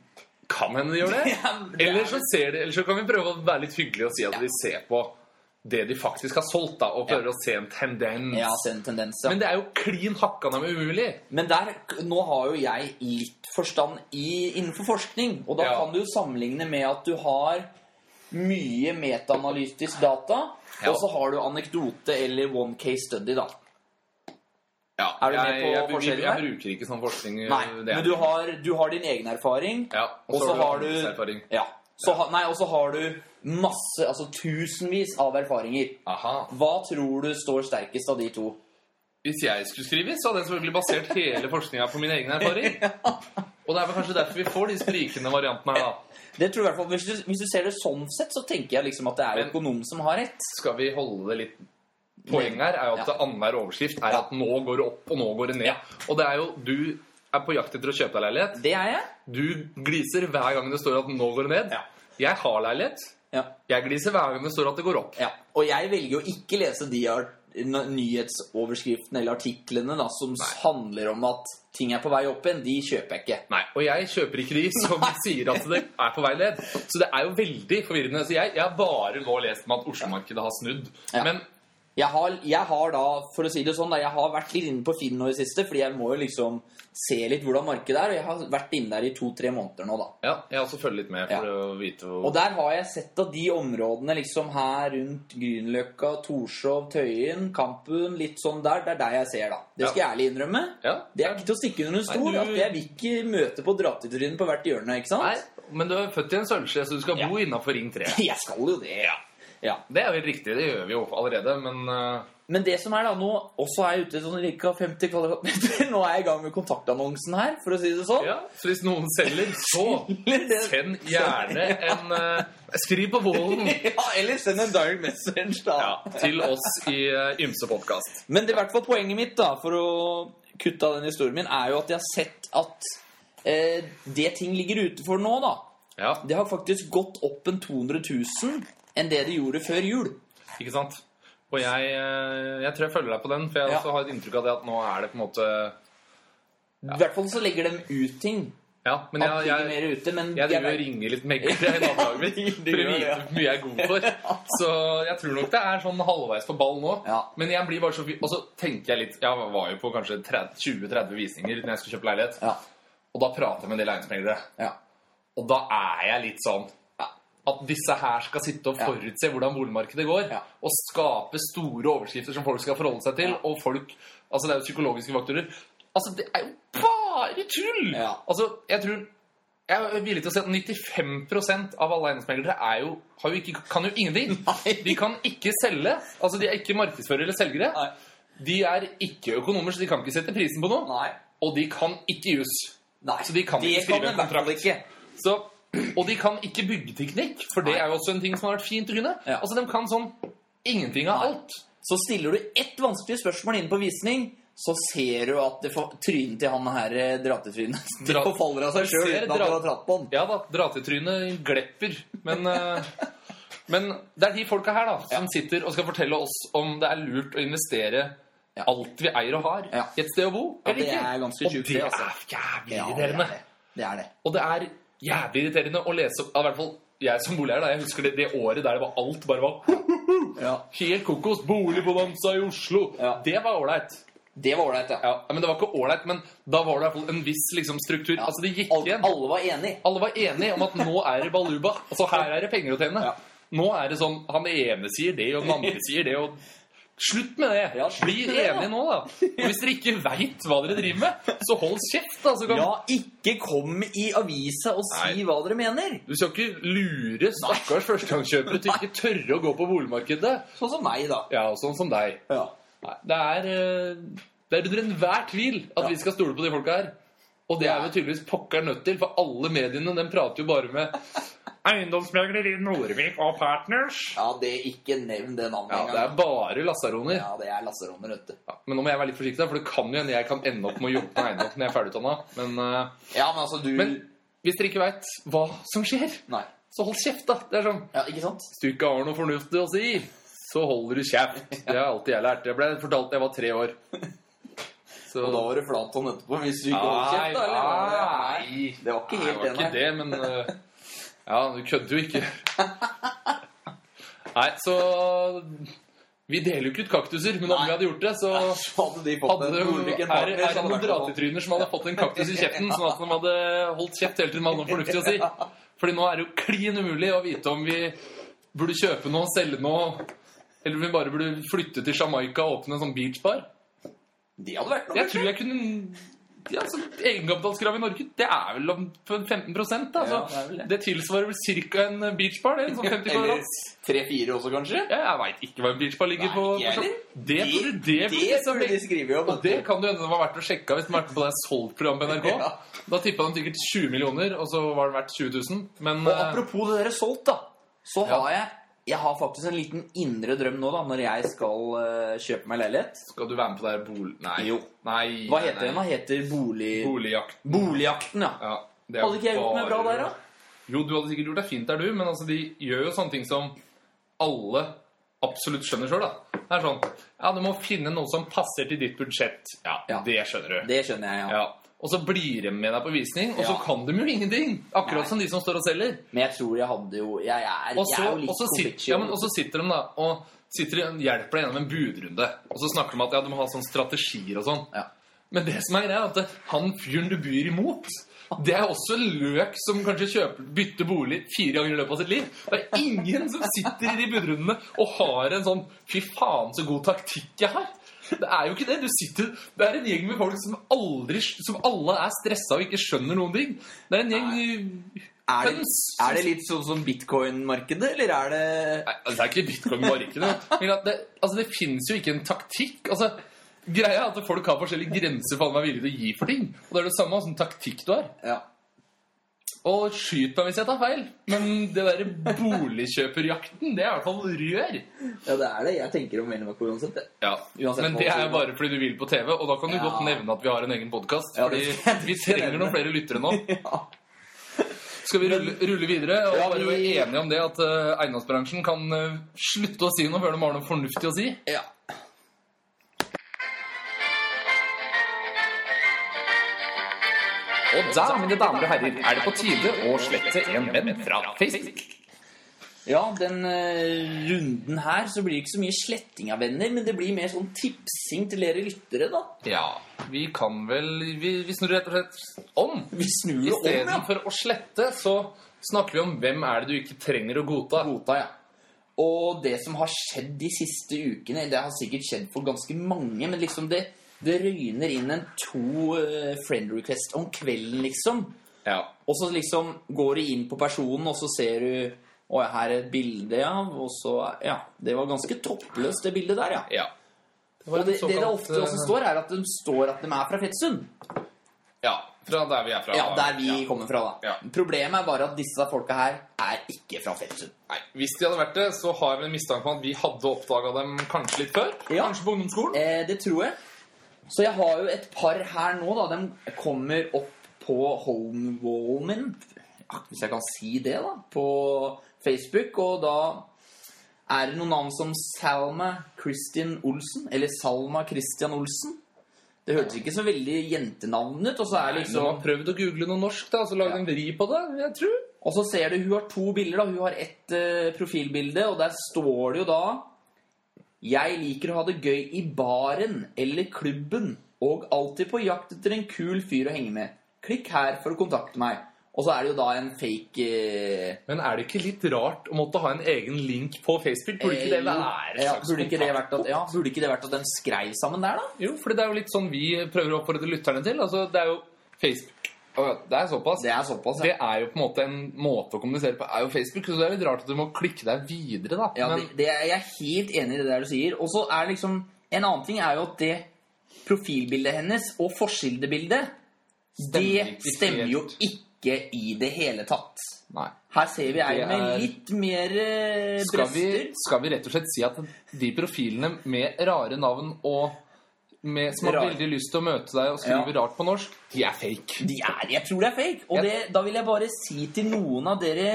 Kan hende de gjør det.
Ja, men det er
Eller så, ser de, eller så kan vi prøve å være litt hyggelige og si at de ser på det de faktisk har solgt, da, og prøver å se en tendens.
Ja, ser en tendens,
Mm.
ja.
Men det er jo klin hakkande med umulig.
Men der, nå har jo jeg litt forstand i, innenfor forskning, og da
Ja.
kan du jo sammenligne med at du har mye metaanalytisk data,
Ja.
og så har du anekdote eller one case study, da.
Ja,
Er du med
jeg,
på
jeg, jeg,
forskjellen
jeg,
der?
bruker ikke sånn forskning.
Nei,
det er-
men du har, du har din egen erfaring,
ja,
og så har du
andres erfaring.
Ja. Så, ha- nei, og så har du masse, altså tusenvis av erfaringer.
Aha.
Hva tror du står sterkest av de to?
Hvis jeg skulle skrive, så hadde jeg selvfølgelig basert hele forskninga på min egen erfaring. Og det er vel kanskje derfor vi får de sprikende variantene her, da.
Det tror jeg i hvert fall, hvis du, hvis du ser det sånn sett, så tenker jeg liksom at det er
Men-
økonomen som har rett.
Skal vi holde det litt Poenget her er jo at
Ja.
annenhver overskrift er at nå går det opp, og nå går det ned. Og det er jo Du er på jakt etter å kjøpe deg leilighet.
Det er jeg.
Du gliser hver gang det står at nå går det ned.
Ja.
Jeg har leilighet.
Ja.
Jeg gliser hver gang det står at det går opp.
Ja, og jeg velger å ikke lese de ar- n- nyhetsoverskriftene eller artiklene da, som handler om at ting er på vei opp igjen. De kjøper jeg ikke.
Nei, Og jeg kjøper ikke de som sier at det er på vei ned. Så det er jo veldig forvirrende. Så jeg, jeg har bare nå lest meg at Oslo-markedet har snudd.
Ja.
Men
Jeg har, jeg har da, for å si det sånn, da, jeg har vært litt inne på Finn nå i det siste, fordi jeg må jo liksom se litt hvordan markedet er, og jeg har vært inne der i to-tre måneder nå, da.
Ja, jeg har også følger litt med for
Ja.
å vite hvor
Og der har jeg sett at de områdene liksom her rundt Grünerløkka, Torshov, Tøyen, Kampen, litt sånn der, det er der jeg ser, da. Det skal jeg ærlig innrømme.
ja.
Det er ikke til å stikke under en stol.
Nei, du-
at Jeg vil ikke møte på dratetrynet på hvert hjørne. ikke sant?
Nei, men du er født i en sølvskje, så du skal bo innafor Ring 3.
Jeg skal jo det. Ja.
Det er jo helt riktig, det gjør vi jo allerede, men eh,
Men det som er da nå, også er jeg ute i sånn ca. 50 kvadratmeter. Nå er jeg i gang med kontaktannonsen her, for å si det sånn.
ja. Så hvis noen selger, så
Eller det-
send gjerne en eh, Skriv på volden
Ja, eller send en direct message, da.
ja, til oss i eh, ymse podkast.
Men det er i hvert fall poenget mitt, da, for å kutte av den historien min, er jo at jeg har sett at eh, det ting ligger ute for nå, da,
Ja,
det har faktisk gått opp en 200 000 enn det det gjorde før jul.
ikke sant? Og jeg, eh, jeg tror jeg følger deg på den, for jeg
Ja.
også har et inntrykk av det at nå er det på en måte
I hvert fall så legger de ut ting.
Ja, men
at
jeg,
ting er
jeg,
mer ute, men
Jeg
jeg
driver og
vet-
ringer litt meglere i nabolaget mitt
Du
for å
gjør det,
vite
ja.
hvor mye jeg er god for. Så jeg tror nok det er sånn halvveis på ball nå.
Ja.
Men jeg blir bare så fi- Og så tenker jeg litt Jeg var jo på kanskje 30 20-30 visninger når jeg skulle kjøpe leilighet.
ja,
Og da prater jeg med en del eiendomsmeglere.
ja.
Og da er jeg litt sånn
Ja.
at disse her skal sitte og
Ja.
forutse hvordan boligmarkedet går,
Ja.
og skape store overskrifter som folk skal forholde seg til. Og folk Altså, det er jo psykologiske faktorer. Altså, det er jo bare tull!
Ja.
Altså, jeg tror jeg er villig til å si at 95 av alle eiendomsmeglere er jo, har jo ikke, kan jo ingenting.
Nei.
De kan ikke selge. Altså, De er ikke markedsførere eller selgere.
Nei.
De er ikke økonomer, så de kan ikke sette prisen på noe.
Nei.
Og de kan ikke jus.
Nei.
Så de kan
det
ikke skrive en
kan de i hvert fall
kontrakt.
ikke.
Så, og de kan ikke byggeteknikk, for det
Nei.
er jo også en ting som har vært fint å kunne.
Ja.
Altså, De kan sånn ingenting av
Nei.
alt.
Så stiller du ett vanskelig spørsmål inne på visning, så ser du at det får- trynet til han her eh, dratetrynet Det
Dra-
forfaller av seg sjøl
Ser
uten at du
dra-
har tratt på den.
Ja da, dratetrynet glepper. Men, eh, men det er de folka her da, som sitter og skal fortelle oss om det er lurt å investere
Ja.
alt vi eier og har,
Ja.
i et sted å bo.
Ja,
eller
det
ikke.
er ganske
og
sjukt,
det
det,
er
altså.
jævlig
Ja, det er
irriterende.
det. Det er det.
Og det er jævlig irriterende å lese opp ja, I hvert fall jeg som boligeier, da. Jeg husker det, det året der det var alt bare var
Ja.
helt kokos. Boligbonanza i Oslo.
Ja.
Det var ålreit.
Det var ålreit, ja.
Ja, men det var ikke ålreit, men da var det i hvert fall en viss liksom, struktur. Altså, det gikk
Alle,
igjen.
alle var enig.
Alle var enige om at nå er det baluba. Altså, her er det penger å tjene.
Ja.
Nå er det sånn Han ene sier det, og den andre sier det, og Slutt med det!
Ja, slutt
Bli
med det, da.
enige nå, da. Og hvis dere ikke veit hva dere driver med, så hold kjeft, da. Så kan...
Ja, ikke kom i avisa og si
Nei.
hva dere mener!
Du skal ikke lure stakkars førstegangskjøpere til ikke tørre å gå på boligmarkedet.
Sånn som meg, da.
Ja, og sånn som deg.
Ja.
Nei, det er, eh, det er under enhver tvil at
Ja.
vi skal stole på de folka her. Og det er vi tydeligvis pokker nødt til, for alle mediene de prater jo bare med
Eiendomsmegler i Nordvik og Partners.
Ja, det ikke nevn det navnet
Ja, det
engang.
er bare lassaroner.
Ja, det er lasserommet, vet du.
Ja, men nå må jeg være litt forsiktig, da, for det kan jo hende jeg kan ende opp med å jobbe med eiendom når jeg er ferdigutdanna. Men eh,
Ja, men altså, du
Men- hvis dere ikke veit hva som skjer,
Nei.
så hold kjeft, da. Det er sånn
Ja, ikke sant?
Hvis du ikke har noe fornuftig å si, så holder du kjeft. Det har alltid jeg lært. Jeg ble fortalt da jeg var tre år. Så
Og da var det flat hånd etterpå hvis du ikke holdt
Nei,
kjeft, da? Eller?
nei.
Det var ikke helt
Nei,
det,
det, var ikke det, men eh, Ja, du kødder jo ikke. Nei, så Vi deler jo ikke ut kaktuser, men om
Nei.
vi hadde gjort det, så
Hadde de fått
hadde det
en ulykke, en
er,
partner,
er
så
det
hadde
noen
det vært
dratetryner som hadde fått en kaktus i kjeften, sånn at de hadde holdt kjeft hele tiden med noe fornuftig å si. Fordi nå er det jo klin umulig å vite om vi burde kjøpe noe, selge noe, eller om vi bare burde flytte til Jamaica og åpne en sånn beachbar.
Det hadde vært noe.
Jeg tror jeg kunne ja, altså, Egenkapitalskrav i Norge det er vel om 15 da. Så
Ja, det er vel det.
altså. det. tilsvarer vel ca. en beachbar. Det, sånn 50
Eller
kvadrat.
tre-fire også, kanskje?
Ja, jeg veit ikke hva en beachbar ligger
Nei,
på.
ikke
på
heller.
sånn. det burde det,
Det
burde liksom
burde de
bli-
skrive om.
og det kan det jo hende det var verdt å sjekke av hvis den var på det solgt-program på NRK.
Ja.
Da tippa de sikkert 20 millioner, og så var den verdt 20 000. Men
Og
eh,
apropos det der solgt, da. Så
Ja.
har jeg Jeg har faktisk en liten indre drøm nå, da, når jeg skal eh, kjøpe meg leilighet.
skal du være med på det her bolig... Nei.
Jo.
Nei
Hva
nei,
heter den?
nei.
da? Heter bolig...
Boligjakt.
Boligjakten, ja.
Ja, det er
Hadde ikke jeg gjort meg bra
bare-
der, da?
Jo, du hadde sikkert gjort deg fint der, du, men altså, de gjør jo sånne ting som alle absolutt skjønner sjøl, da. Det er sånn Ja, du må finne noe som passer til ditt budsjett. Ja,
Ja.
det skjønner du.
Det skjønner jeg, ja.
Ja. Og så blir de med deg på visning, og så
Ja.
kan de jo ingenting! Akkurat
Nei.
som de som står og selger.
Men jeg tror jeg hadde jo Jeg er,
Og så,
jeg er jo
og
litt
så, sitter, ja, men, og så sitter de da og sitter, hjelper deg gjennom en budrunde. Og så snakker de om at ja, du må ha sånne strategier og sånn.
Ja.
Men det som er greia, er at det- han fyren du byr imot det er også en løk som kanskje kjøper, bytter bolig fire ganger i løpet av sitt liv. Det er ingen som sitter i de budrundene og har en sånn 'fy faen, så god taktikk jeg har'. Det er jo ikke det. Du sitter, det er en gjeng med folk som aldri Som alle er stressa og ikke skjønner noen ting. Det er en gjeng
er, det,
høns.
er det litt sånn som bitcoin-markedet, eller er det
Nei, altså, det er ikke bitcoin-markedet. Men at det, altså, det finnes jo ikke en taktikk. Altså, greia er at folk har forskjellige grenser for hva de er villige til å gi for ting. Og det er det samme hvilken taktikk du har.
Ja.
Og skyt meg hvis jeg tar feil, men det derre boligkjøperjakten, det er i hvert fall rør.
ja, det er det. Jeg tenker om Melmark uansett. jeg.
Ja,
Uansett
Men
hva
det
du
er
sier.
bare fordi du vil på TV, og da kan du
Ja.
godt nevne at vi har en egen podkast.
Ja,
fordi
det skal jeg
vi
ikke
trenger
nevne.
noen flere lyttere nå.
Ja.
Skal vi rulle, rulle videre og
Ja,
bare
vi-
være enige om det at eh, eiendomsbransjen kan eh, slutte å si noe før de har noe fornuftig å si?
Ja.
Og da, mine damer og herrer, er det på tide å slette en venn fra Facebook.
Ja, den eh, runden her så blir det ikke så mye sletting av venner, men det blir mer sånn tipsing til dere lyttere, da.
Ja, vi kan vel Vi, vi snur rett og slett om.
Vi snur det om, ja.
Istedenfor å slette, så snakker vi om hvem er det du ikke trenger å godta.
Godta, ja. Og det som har skjedd de siste ukene, det har sikkert skjedd for ganske mange, men liksom det, det røyner inn en to eh, friend request om kvelden, liksom.
Ja.
Og så liksom går du inn på personen, og så ser du Å, ja, her er et bilde, ja. Og så Ja. Det var ganske toppløst, det bildet der, ja.
ja. Det
Og det,
en
det det
såkalt,
ofte også
eh,
står, er at de står at de er fra Fettsund.
Ja, fra der vi er fra.
Ja, der vi kommer fra, da.
Ja.
Problemet er bare at disse folka her er ikke fra Fettsund.
Nei, Hvis de hadde vært det, så har vi en mistanke om at vi hadde oppdaga dem kanskje litt før.
Ja.
Kanskje på ungdomsskolen.
Eh, det tror jeg. Så jeg har jo et par her nå, da. De kommer opp på Homewallman, hvis jeg kan si det, da, på Facebook. Og da er det noen navn som Salma Kristin Olsen, eller Salma Christian Olsen. Det hørtes ikke så veldig jentenavn ut. Og så er
Nei,
liksom
Noen har prøvd å google noe norsk, da, og så lagde
Ja.
en vri på det. jeg tror.
Og så ser du hun har to bilder. da. Hun har ett eh, profilbilde, og der står det jo da Jeg liker å ha det gøy i baren eller klubben og alltid på jakt etter en kul fyr å henge med. Klikk her for å kontakte meg. Og så er det jo da en fake eh,
Men er det ikke litt rart å måtte ha en egen link på Facebook? Burde ikke det
eh,
være
ja,
slags
burde ikke det
kontakt?
vært at, ja, burde ikke det vært at de skrev sammen der, da?
Jo, for det er jo litt sånn vi prøver å oppfordre lytterne til. Altså, det er jo Facebook. Å ja, Det er såpass.
Det er såpass.
Det
Ja,
er jo på en måte en måte å kommunisere på. er jo Facebook, så det er litt rart at du må klikke deg videre, da.
ja,
Men
det, det er, jeg er helt enig i det der du sier. Og så er det liksom En annen ting er jo at det profilbildet hennes og forsidebildet
stemmer
Det
ikke
stemmer jo
helt.
ikke ikke i det hele tatt.
Nei.
Her ser vi ei
Det
med
er-
litt mer eh,
Skal vi,
bryster.
skal vi rett og slett si at de profilene med rare navn og med, som har
Rar.
veldig lyst til å møte deg og skrive rart på norsk, de er fake.
De er, jeg tror det er fake. Og
Jeg-
det, da vil jeg bare si til noen av dere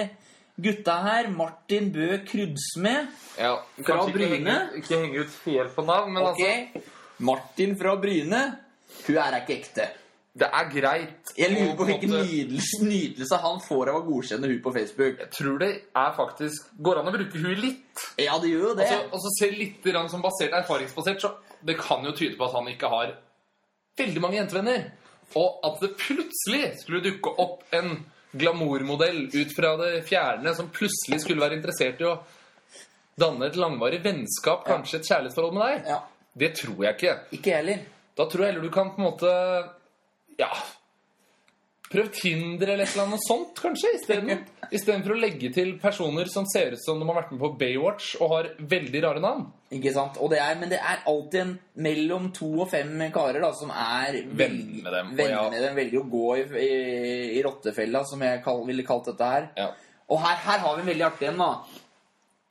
gutta her, Martin Bø Krudsmed
Ja,
Fra
kanskje ikke
Bryne?
henge- Ikke henge ut helt på navn, men altså-
Ok, Martin fra Bryne. Hun er ikke ekte.
altså Det er greit.
Jeg lurer
å
på
en
hvilken
måte-
nydelse, nydelse han får av å godkjenne hun på Facebook.
Tror det er faktisk Går an å bruke huet litt.
Ja, det gjør jo
Og
det.
så- Og så ser litt grann som basert, erfaringsbasert, så det kan jo tyde på at han ikke har veldig mange jentevenner. Og at det plutselig skulle dukke opp en glamourmodell ut fra det fjerne som plutselig skulle være interessert i å danne et langvarig vennskap, kanskje et kjærlighetsforhold med deg.
Ja,
Det tror jeg ikke.
ikke jeg heller.
Da tror jeg heller du kan på en måte Ja Prøv Tinder eller et eller annet sånt, kanskje, isteden. Istedenfor å legge til personer som ser ut som de har vært med på Baywatch og har veldig rare navn.
Ikke sant? Og det er, men det er alltid en mellom to og fem karer da, som er
Venn med dem, og
venn
ja.
med dem velger å gå i, i, i rottefella, som jeg kall, ville kalt dette her.
Ja.
Og her, her har vi en veldig artig en, da.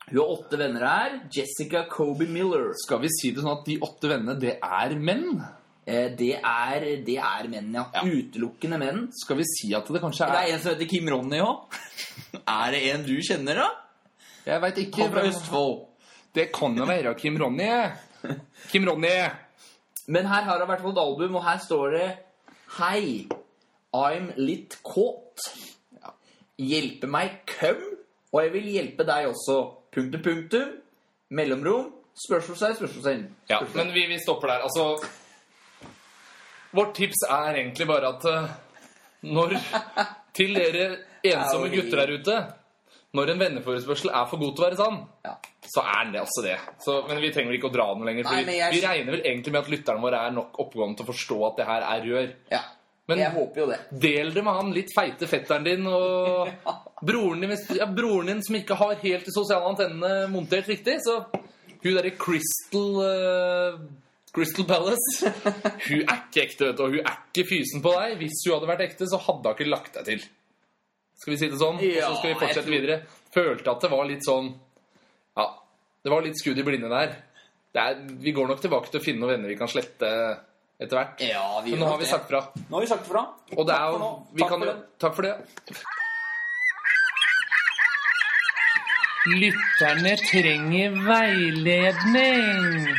Hun har åtte venner her. Jessica Kobe Miller.
Skal vi si det sånn at de åtte vennene, det er menn?
Eh, det, er, det er menn, ja.
Ja.
Utelukkende menn.
Skal vi si at det kanskje
Det
er
er en som heter Kim Ronny òg. er det en du kjenner, da?
Jeg veit ikke.
Han fra Østfold.
Det kan jo være Kim Ronny. Kim Ronny!
Men her har hun i hvert fall et album, og her står det Hei, I'm litt kåt. Hjelpe meg køm, og jeg vil hjelpe deg også. Punktum, punktum. Mellomrom. Spørsmålstegn, spørsmålstegn.
Ja, men vi, vi stopper der. Altså Vårt tips er egentlig bare at eh, når Til dere ensomme
Au.
gutter der ute Når en venneforespørsel er for god til å være sann,
Ja.
så er den det altså det. Så, men vi trenger vel ikke å dra den lenger. For
Nei, men jeg-
Vi regner vel egentlig med at lytterne våre er nok oppegående til å forstå at det her er rør.
ja.
Men
Jeg håper jo det.
del det med han litt feite fetteren din og broren din, hvis- ja, broren din som ikke har helt de sosiale antennene montert riktig. Så hun derre Crystal eh, Crystal Palace Hun er ikke ekte, vet du, og hun er ikke fysen på deg. Hvis hun hadde vært ekte, så hadde hun ikke lagt deg til. Skal vi si det sånn? og
Ja,
så skal vi fortsette
jeg tror-
videre. Følte at det var litt sånn Ja, det var litt skudd i blinde der. Det er, vi går nok tilbake til å finne noen venner vi kan slette etter hvert.
Ja, vi
Men nå har vi sagt fra.
Nå har vi sagt fra.
Og det er
for
jo
nå.
vi
Takk
kan,
for
jo- Takk for det. Lytterne trenger veiledning.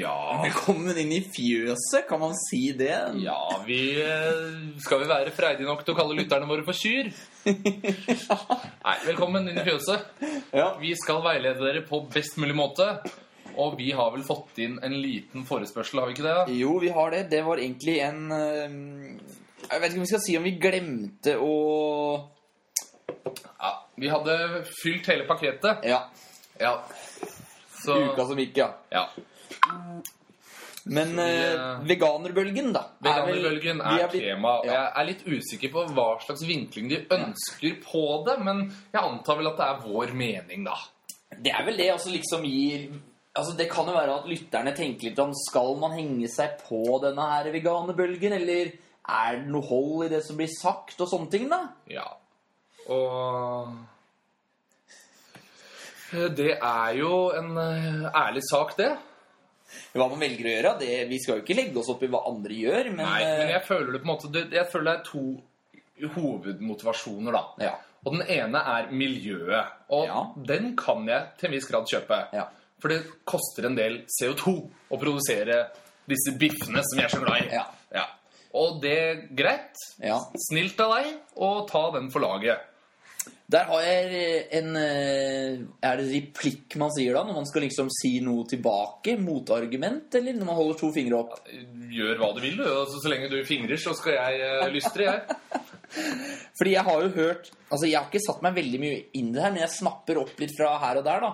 Ja
Velkommen inn i fjøset, kan man si det?
Ja, vi eh, skal vi være freidige nok til å kalle lytterne våre for kyr? Nei, velkommen inn i fjøset.
Ja.
Vi skal veilede dere på best mulig måte. Og vi har vel fått inn en liten forespørsel, har vi ikke det? da?
Jo, vi har det. Det var egentlig en øhm, Jeg vet ikke om vi skal si om vi glemte å
Ja, vi hadde fylt hele pakketet.
Ja.
Ja. Så,
Uka som gikk, ja.
ja.
Men eh, veganerbølgen, da.
Veganerbølgen
vi
er
blitt-
tema. og
ja.
Jeg er litt usikker på hva slags vinkling de ønsker på det, men jeg antar vel at det er vår mening, da.
Det er vel det altså liksom gir Altså Det kan jo være at lytterne tenker litt om Skal man henge seg på denne her veganerbølgen, eller er det noe hold i det som blir sagt, og sånne ting, da?
Ja. Og Det er jo en eh, ærlig sak, det.
Hva man velger å gjøre, det, vi skal jo ikke legge oss opp i hva andre gjør, men,
Nei, men
eh,
jeg føler det på en måte det, Jeg føler det er to hovedmotivasjoner, da.
ja,
Og den ene er miljøet. Og
Ja.
den kan jeg til en viss grad kjøpe.
Ja.
For det koster en del CO2 å produsere disse biffene som jeg er så glad i.
Ja.
Og det er greit.
ja.
Snilt av deg å ta den for laget.
Der har jeg en eh, Er det replikk man sier da, når man skal liksom si noe tilbake? Motargument, eller når man holder to fingre opp?
Gjør hva du vil, du. Altså, så lenge du fingrer, så skal jeg eh, lystre, jeg.
Fordi jeg har jo hørt Altså, jeg har ikke satt meg veldig mye inn i det her, men jeg snapper opp litt fra her og der, da.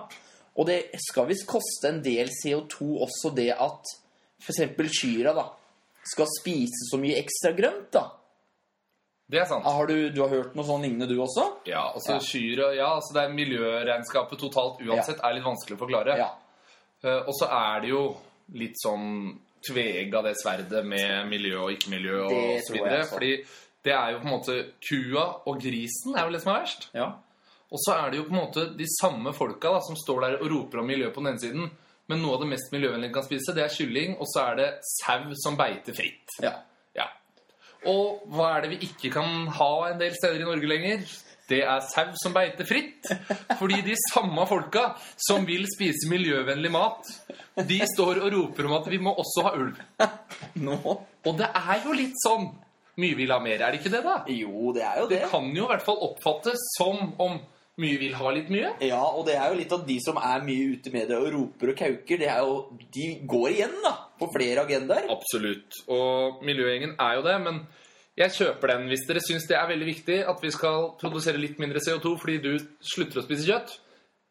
Og det skal visst koste en del CO2 også det at f.eks. kyrne, da, skal spise så mye ekstra grønt, da.
Det er sant.
Har du, du har hørt noe sånn lignende, du også?
Ja, altså
Ja.
kyr og- Ja, altså det er miljøregnskapet totalt uansett er litt vanskelig å forklare.
Ja.
Eh, Og så er det jo litt sånn tvega det sverdet med miljø og ikke-miljø og
Det
så
tror jeg
videre.
også.
Fordi det er jo på en måte Kua og grisen er jo det som er verst.
Ja.
Og så er det jo på en måte de samme folka da, som står der og roper om miljø på den ene siden. Men noe av det mest miljøvennlige de kan spise, det er kylling, og så er det sau som beiter fritt.
ja.
Ja. Og hva er det vi ikke kan ha en del steder i Norge lenger? Det er sau som beiter fritt. Fordi de samme folka som vil spise miljøvennlig mat, de står og roper om at vi må også ha ulv.
Nå
Og det er jo litt sånn mye vil ha mer, er det ikke det, da?
Jo, det er jo det.
Det kan jo i hvert fall oppfattes som om mye vil ha litt mye.
Ja, og det er jo litt at de som er mye ute med det og roper og kauker, det er jo, de går igjen da, på flere agendaer.
Absolutt. Og miljøgjengen er jo det, men jeg kjøper den hvis dere syns det er veldig viktig at vi skal produsere litt mindre CO2 fordi du slutter å spise kjøtt.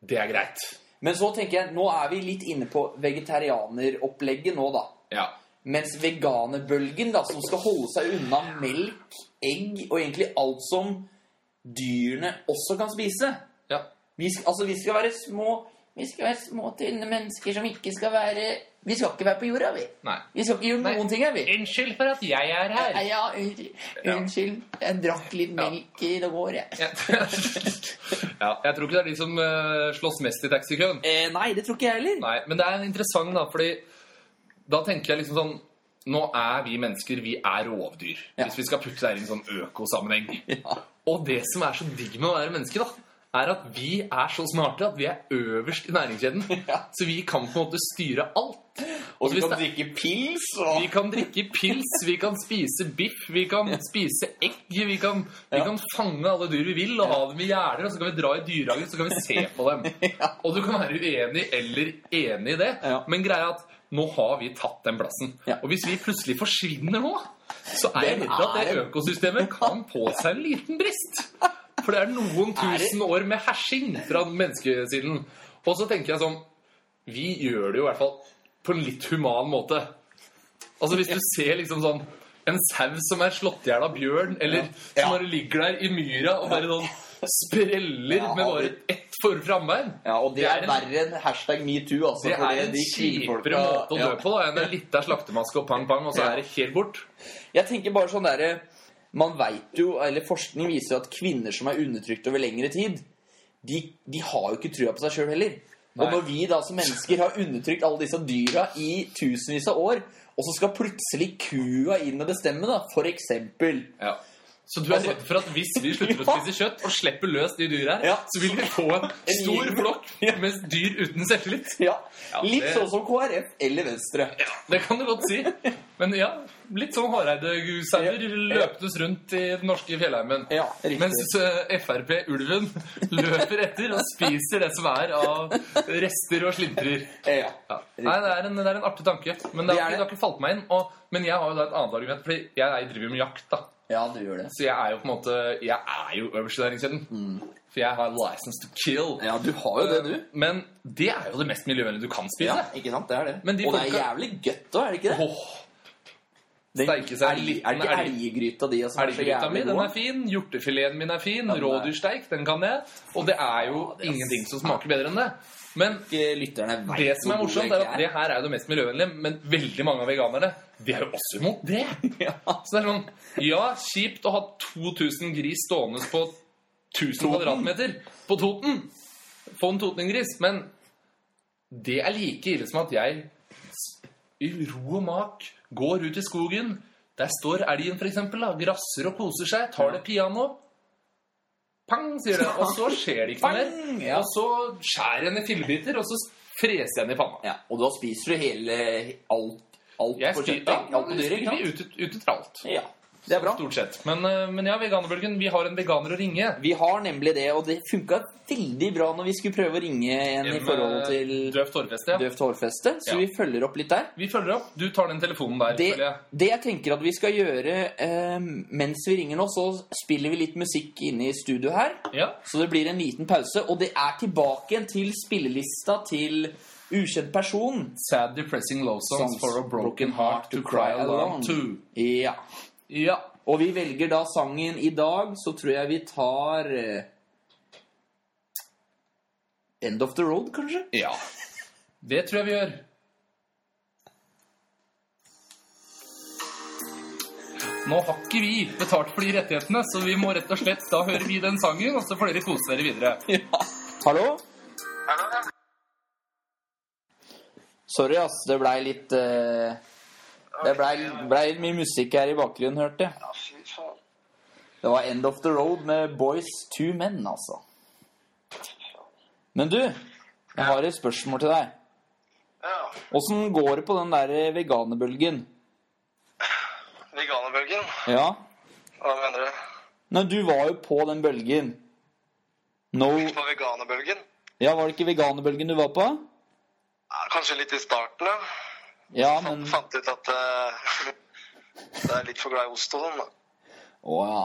Det er greit.
Men så tenker jeg, nå er vi litt inne på vegetarianeropplegget nå da.
Ja.
Mens veganerbølgen da, som skal holde seg unna melk, egg og egentlig alt som dyrene også kan spise.
ja.
Vi skal, altså, vi skal være små, vi skal være små, tynne mennesker som ikke skal være... Vi skal ikke være på jorda, vi.
Nei.
Vi skal ikke gjøre
Nei.
noen ting, er vi?
Unnskyld for at jeg er her.
Ja, unnskyld. Unnskyld. Jeg drakk litt melk i det går, jeg.
Ja. Jeg tror ikke det er de som eh, slåss mest i taxikøen.
Eh, nei, det tror ikke jeg heller.
Nei, men det er interessant, da, fordi da tenker jeg liksom sånn Nå er vi mennesker, vi er rovdyr.
Ja.
Hvis vi skal putte det her i en sånn økosammenheng. Og det som er så digg med å være menneske, da, er at vi er så smarte at vi er øverst i næringskjeden.
Ja.
Så vi kan på en måte styre alt.
Og
hvis
du kan
det-
drikke pils og
Vi kan drikke pils, vi kan spise biff, vi kan spise egg, vi kan, vi
Ja.
kan fange alle dyr vi vil og ha dem i gjerder, og så kan vi dra i dyrehagen, så kan vi se på dem. Og du kan være uenig eller enig i det,
Ja.
men greia er at nå har vi tatt den plassen.
Ja.
Og hvis vi plutselig forsvinner nå, så er jeg
Det
redd at
er-
det økosystemet kan på seg en liten brist. For det er noen
Er det-
tusen år med hersing fra menneskesiden. Og så tenker jeg sånn Vi gjør det jo i hvert fall på en litt human måte. Altså Hvis du ser liksom sånn en sau som er slått i hjel av bjørn, eller
Ja.
som bare ligger der i myra og bare sånn spreller
Ja,
med bare ett for frambein
Ja, og det,
Det er
er,
en-
verre enn hashtag metoo, altså.
Det
for
er en
de kvinnfolka-
kjipere måte å dø
Ja.
på da enn en lita slaktemaske og pang-pang, og så
Ja.
er det helt bort.
Jeg tenker bare sånn derre Man veit jo, eller forskning viser jo at kvinner som er undertrykt over lengre tid, de, de har jo ikke trua på seg sjøl heller.
Nei.
Og når vi da som mennesker har undertrykt alle disse dyra i tusenvis av år, og så skal plutselig kua inn og bestemme, da, for eksempel
Ja. Så du er
Altså-
redd for at hvis vi slutter å
Ja.
spise kjøtt og slipper løs de dyra her,
Ja.
så vil vi få en stor
gjeng.
flokk med dyr uten selvtillit?
Ja,
Ja,
litt
det-
sånn som KrF eller Venstre.
Ja, det kan du godt si. Men ja, litt sånn Hareide-sauer løptes rundt i den norske fjellheimen.
Ja, riktig.
Mens eh, Frp-ulven løper etter og spiser det som er av rester og slintrer.
Ja.
Ja. Nei, det er, en, det er en artig tanke, men det,
Det
har
er
ikke- det har ikke falt meg inn. Og, men jeg har jo da et annet argument, fordi jeg driver jo med jakt, da.
ja, du gjør det.
Så jeg er jo på en måte Jeg er jo øverst i næringskjeden. For jeg har license to kill.
Mm. Ja, du har jo det, du.
Men det er jo det mest miljøvennlige du kan spise.
Ja, ikke sant? Det er det.
Men de
og det er
folka-
jævlig godt òg, er det ikke det?
Åh,
Den,
steike seg en
elg-
liten
er det
elg.
ikke elggryta di som er så
Elggryta mi
jævlig
den er
god?
fin, hjortefileten min er fin,
den er-
rådyrsteik den kan jeg. Og det er jo
det er-
ingenting som smaker bedre enn det. Men
Ikke eh, Lytterne vet
det som
hvor
er
god
morsomt,
den
er at det her er jo det mest miljøvennlige, men veldig mange av veganerne de er jo også imot det.
Ja.
Så det er sånn Ja, kjipt å ha 2000 gris stående på 1000 kvadratmeter på Toten. Få en totninggris. Men det er like ille som at jeg s- i ro og mak går ut i skogen. Der står elgen, for eksempel, da, grasser og koser seg, tar det piano. Pang, sier det. Og så skjer det ikke noe
Pang,
mer.
ja.
Og så skjærer jeg den i fillebiter, og så freser jeg den i panna.
Ja, og da spiser du hele alt, alt
Jeg
på
spiser
kjøttet? alt på dyret, ikke
ut,
sant?
ut, ut etter alt.
Ja, det er bra.
Stort sett. Men, eh, men ja, veganerbølgen, vi har en veganer å ringe.
Vi har nemlig det, og det funka veldig bra når vi skulle prøve å ringe en i
En,
forhold
eh,
til
Døvt hårfeste. Ja.
døvt hårfeste,
Ja.
så vi følger opp litt der.
Vi følger opp. Du tar den telefonen der,
Det,
føler jeg.
det jeg tenker at vi skal gjøre eh, mens vi ringer nå, så spiller vi litt musikk inne i studio her.
Ja.
Så det blir en liten pause, og det er tilbake igjen til spillelista til ukjent person.
Sad depressing love songs,
Songs
for a broken heart to cry alone to.
Ja.
Ja.
Og vi velger da sangen i dag, så tror jeg vi tar eh, End of the Road, kanskje?
ja. Det tror jeg vi gjør. Nå har ikke vi betalt for de rettighetene, så vi må rett og slett Da hører vi den sangen, og så får dere kose dere videre.
Hallo? Sorry, ass. Det blei litt eh, Det blei blei litt mye musikk her i bakgrunnen, hørte jeg.
Ja, fy faen.
Det var End of the Road med Boys Two Men, altså. Men du, jeg har et spørsmål til deg.
Ja,
Åssen går det på den der veganerbølgen?
veganerbølgen.
Ja?
Hva mener du?
Nei, du var jo på den bølgen. No
På veganerbølgen?
Ja, var det ikke veganerbølgen du var på?
Ja, kanskje litt i starten, ja.
Ja,
Fant,
men
fant ut at eh, det er litt for glad i ost og sånn. da.
Å ja.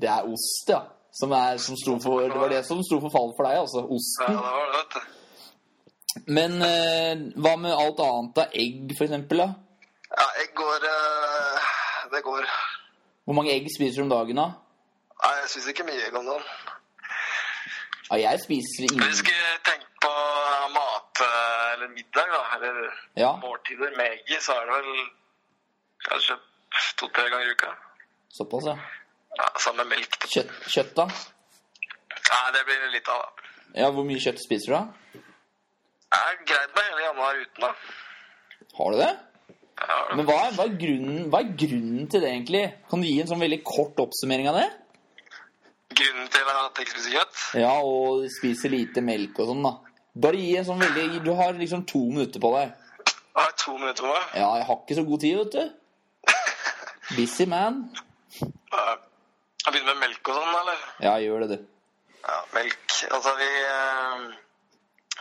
Det er ost, ja. Som er, som sto for, det var det som sto for fall for deg, altså.
Ja,
Osten.
det var det, vet du.
Men eh, hva med alt annet av egg, for eksempel? Da?
Ja, jeg går eh, Det går. Nei,
Hvor mange egg spiser du om dagen, da?
jeg syns ikke mye egg om dagen.
Ja, jeg spiser
Vi
ingen
skulle tenke på mat eh, eller middag, da. Eller
Ja,
måltider med egg i, så er det vel kanskje to-tre ganger i uka.
såpass, ja.
Ja, Sammen med melk. da.
Kjøtt, kjøtt, da?
Nei, det blir det litt av, da.
Ja, Hvor mye kjøtt spiser du, da?
Jeg er greit med hele januar uten, da.
Har du det?
Jeg har det.
Men hva er, hva, er grunnen, hva er grunnen til det, egentlig? Kan du gi en sånn veldig kort oppsummering av det?
Grunnen til at jeg ikke spiser kjøtt?
Ja, og spiser lite melk og sånn, da. Bare gi en sånn veldig Du har liksom to minutter på deg.
Jeg har to minutter på meg.
Ja, jeg har ikke så god tid, vet du. Busy man.
Ja. Jeg begynner med melk og sånn, eller?
Ja, gjør det, du.
Ja, melk. Altså, vi eh,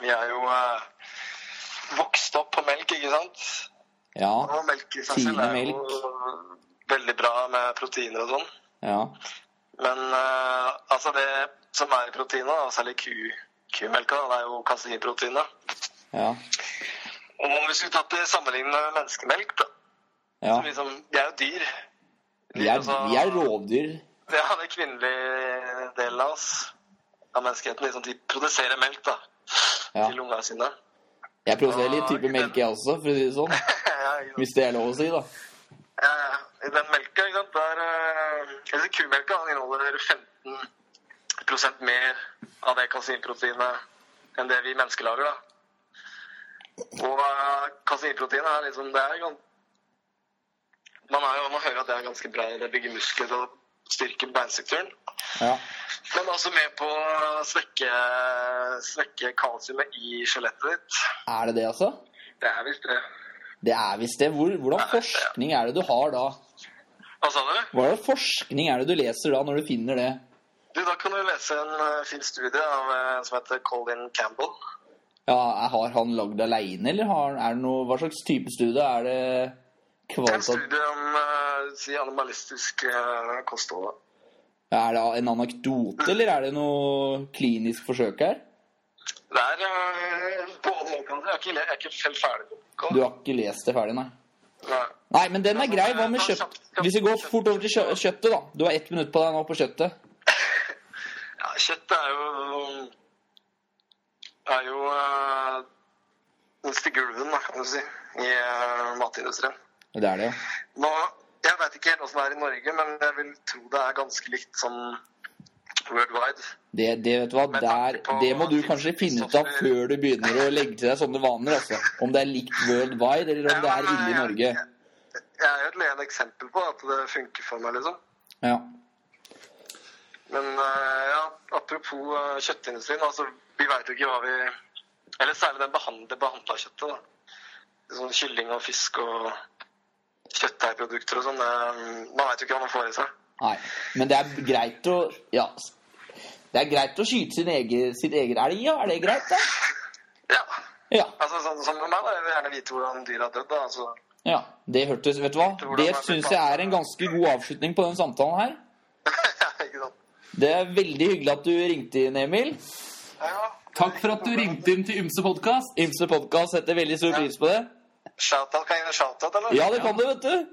Vi er jo eh, vokst opp på melk, ikke sant?
Ja.
Og melk i seg selv
Fine
er jo veldig bra med proteiner og sånn.
ja.
Men eh, altså, det som er i proteinet, da, særlig ku, kumelka, da, det er jo kaseinproteinet.
Ja.
Og hvis vi tatt det sammenlignet med menneskemelk, da
ja.
så liksom, Vi er jo dyr.
Vi
Altså,
er, vi er rovdyr.
Det er den kvinnelige delen av oss, av menneskeheten. Liksom, de produserer melk da,
Ja.
til ungene sine.
Jeg produserer litt type melk, jeg også, for å si det sånn.
ja, ikke sant?
Hvis det er lov å si, da.
ja, ja. I den melka, ikke sant, der eh, Eller kumelka den inneholder 15 mer av det kaseinproteinet enn det vi mennesker lager, da. Og eh, kaseinproteinet er liksom Det er gan- man, er jo, man hører at det er ganske bra. Det bygger muskler og styrker beinstrukturen.
Ja.
Den er også med på å svekke, svekke kalsiumet i skjelettet ditt.
Er det det, altså?
Det er visst det.
Det er visst det. Hvor, hvordan forskning er det du har da?
Hva sa du?
Hva slags forskning er det du leser da, når du finner det?
Du, Da kan du lese en eh, fin studie av en som heter Colin Campbell.
Ja, er- Har han lagd aleine, eller har, er det noe, hva slags type studie er det?
Det er en
Kvalitativt?
studie om eh, si, animalistisk eh, kosthold. da.
Er det en anekdote, eller er det noe klinisk forsøk her?
Det er eh, både og, kan du si. Jeg er ikke, jeg er ikke selv ferdig med boka.
Du har ikke lest det ferdig, nei.
Nei.
Nei, men den er grei. Hva med kjøtt? Hvis vi går fort over til kjø- kjøttet, da. Du har ett minutt på deg nå på kjøttet.
Ja, kjøtt er jo er jo eh, den stygge ulven, da, kan du si, i eh, matindustrien.
Det er det, ja.
Nå, jeg vet ikke helt hvordan det er i Norge, men jeg vil tro det er ganske likt som worldwide.
Det, det vet du hva, der, det må du kanskje finne ut av før du begynner å legge til deg sånne vaner. altså. Om det er likt worldwide, eller om det er ille i Norge.
Jeg er jo et levende eksempel på at det funker for meg, liksom.
Ja.
Men eh, ja, apropos eh, kjøttindustrien, altså vi veit jo ikke hva vi Eller særlig den behandle, det behandla kjøttet, da. Sånn kylling og fisk og kjøttdeigprodukter og sånn. det- Man veit jo ikke hva man får i seg.
Nei. Men det er greit å Ja. Det er greit å skyte sin egen, sitt eget elg, ja. Er det greit, da?
Ja.
Ja.
Altså sånn som med meg, da. Jeg vil gjerne vite hvordan dyr har dødd, da. Altså
ja. Det hørtes Vet du hva? Det syns jeg er en ganske god avslutning på den samtalen her.
Ikke sant.
Det er veldig hyggelig at du ringte inn, Emil.
Ja.
Takk for at du ringte inn til Ymse podkast.
Ymse podkast setter veldig stor pris på det.
Shoutout, kan jeg gi en shoutout, eller?
Ja, det kan du, vet du.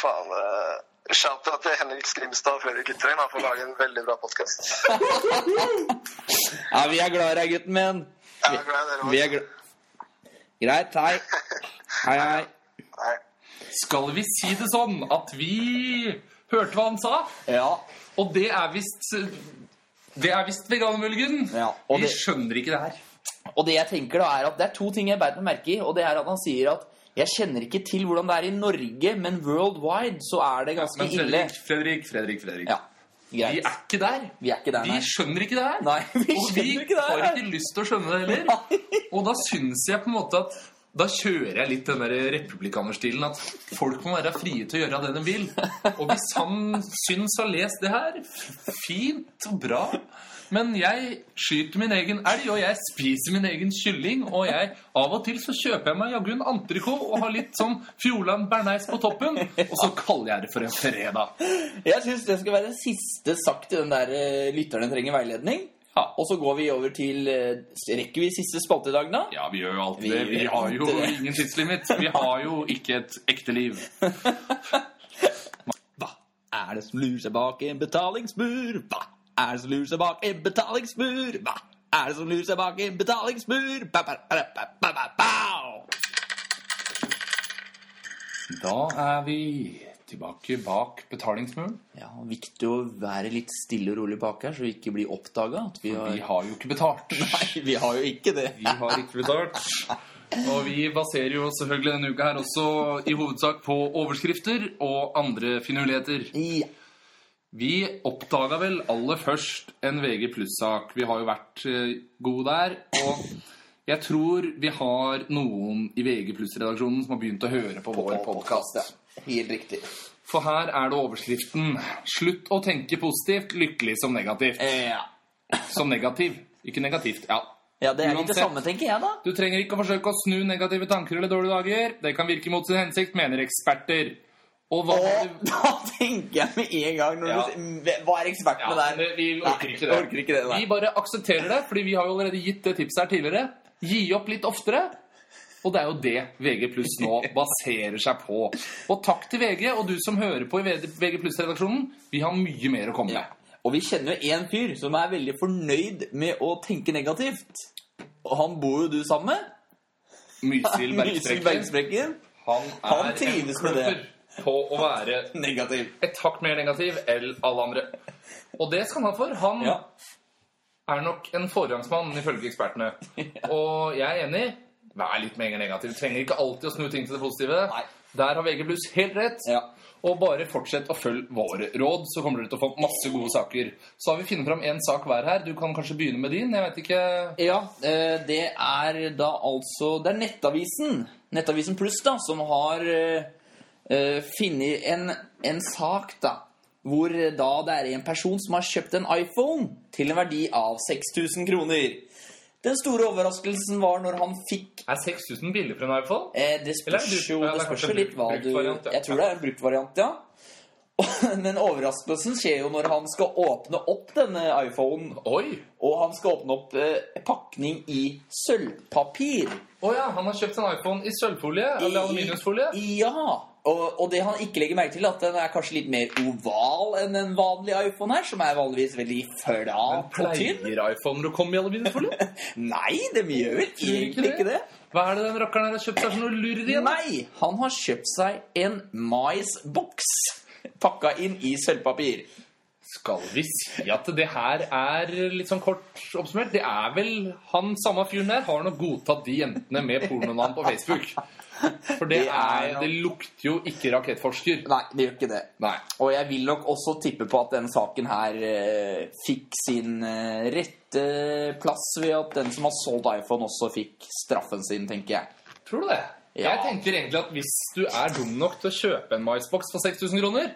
Faen, eh, shoutout til Henrik Skrimstad og Fredrik Ytterøyen da, for å lage en veldig bra podkast.
Ja, vi er glad i deg, gutten min. Vi er glad. Greit, hei. Hei, hei.
Nei.
Skal vi si det sånn at vi hørte hva han sa?
Ja,
Og det er visst Det er visst veganermulgen.
Ja, og
vi
det-
skjønner ikke det her.
Og det jeg tenker da er at det er to ting jeg beit meg merke i. Og det er at han sier at jeg kjenner ikke til hvordan det er i Norge, men worldwide så er det ganske
Men
ille.
Fredrik, Fredrik, Fredrik, Fredrik.
Ja,
Vi
greit.
er ikke der.
Vi er ikke der,
Vi
nei.
skjønner ikke det her.
Nei, vi
og vi
skjønner ikke det
har
her.
ikke lyst til å skjønne det heller.
Nei.
Og da syns jeg på en måte at da kjører jeg litt den der republikanerstilen at folk må være frie til å gjøre det de vil. Og hvis han syns å lest det her, f- fint og bra. Men jeg skyter min egen elg, og jeg spiser min egen kylling. Og jeg, av og til så kjøper jeg meg jaggu en entrecôte og har litt sånn Fjordland bearnés på toppen. Og så kaller jeg det for en fredag.
Jeg syns det skal være det siste sagt til den der eh, lytteren trenger veiledning.
Ja.
Og så går vi over til eh, Rekker vi siste spalte i dag, da?
Ja, vi gjør jo alt
Vi
det. Vi
gjør
har
alt
jo
det.
ingen tidslimit. Vi har jo ikke et ekte liv.
Hva er det som lurer seg bak en betalingsmur? Hva er det som lurer seg bak en betalingsmur? Hva er det som lurer seg bak en betalingsmur? Ba, ba, ba, ba, ba, ba, ba.
Da er vi tilbake bak betalingsmuren.
Ja, og viktig å være litt stille og rolig bak her, så vi ikke blir oppdaga. Vi,
Vi har jo ikke betalt.
Nei, vi har jo ikke det.
Vi har ikke betalt. Og vi baserer jo selvfølgelig denne uka her også i hovedsak på overskrifter og andre finurligheter.
Ja.
Vi oppdaga vel aller først en VG pluss-sak. Vi har jo vært eh, gode der. Og jeg tror vi har noen i VG pluss-redaksjonen som har begynt å høre på vår podkast.
Helt riktig.
For her er det overskriften 'Slutt å tenke positivt, lykkelig som negativt'.
Ja.
Som negativ. Ikke negativt. Ja.
ja, det er litt det
Uansett.
samme, tenker jeg, da.
Du trenger ikke å forsøke å snu negative tanker eller dårlige dager. Det kan virke mot sin hensikt, mener eksperter. Og hva
Og da tenker jeg med en gang når
Ja.
du sier Hva er ekspertene
Ja,
der?
det- vi orker
Nei,
ikke det.
Orker ikke det nei.
Vi bare aksepterer det, fordi vi har jo allerede gitt det tipset her tidligere. Gi opp litt oftere. Og det er jo det VG pluss nå baserer seg på. Og takk til VG og du som hører på i VG pluss-redaksjonen. Vi har mye mer å komme
Ja.
med.
Og vi kjenner jo en fyr som er veldig fornøyd med å tenke negativt. Og han bor jo du sammen med.
Mysil
Mysen
Bergstrekken.
Bergsprekken.
Han
Han
er en
trives med
kløpper
det.
på å være
Negativ.
et hakk mer negativ enn alle andre. Og det skal han ha for. Han
Ja.
er nok en foregangsmann, ifølge ekspertene. Og jeg er enig. Vær litt mer negativ. Du trenger ikke alltid å snu ting til det positive.
Nei.
Der har VG pluss helt rett.
Ja.
Og bare fortsett å følge våre råd, så kommer dere til å få masse gode saker. Så har vi funnet fram én sak hver her. Du kan kanskje begynne med din. Jeg vet ikke
Ja, eh, det er da altså Det er Nettavisen, Nettavisen Pluss, da, som har eh, eh, funnet en, en sak, da. Hvor eh, da det er en person som har kjøpt en iPhone til en verdi av 6000 kroner. Den store overraskelsen var når han fikk
Er 6000 billig for en iPhone?
eh, Det
Eller er det
spørs
brukt-
jo
ja, det er
det spørs
kanskje
jo litt hva
brukt-
du
brukt variant, ja.
Jeg tror det er en brukt variant, ja. Men overraskelsen skjer jo når han skal åpne opp denne iPhonen.
Oi!
Og han skal åpne opp eh, pakning i sølvpapir.
Å ja, han har kjøpt en iPhone i sølvfolie eller aluminiumsfolie.
Ja. Og, og det han ikke legger merke til, er at den er kanskje litt mer oval enn en vanlig iPhone her, som er vanligvis veldig flat og tynn.
Pleier iPhoner å komme i aluminiumsfolie?
Nei, de gjør
Gjør
vel
ikke
egentlig
det?
ikke det.
Hva er det den rakkeren her har kjøpt seg for noe lurv igjen?
Nei, han har kjøpt seg en maisboks pakka inn i sølvpapir.
Skal vi si at det her er litt sånn kort oppsummert? Det er vel han samme fyren der har nok godtatt de jentene med pornonavn på Facebook. For det,
Det er
er,
nok-
det lukter jo ikke rakettforsker.
Nei, det gjør ikke det.
Nei.
Og jeg vil nok også tippe på at denne saken her eh, fikk sin eh, rette plass ved at den som har solgt iPhone, også fikk straffen sin, tenker jeg.
Tror du det?
Ja.
Jeg tenker egentlig at hvis du er dum nok til å kjøpe en maisboks for 6000 kroner,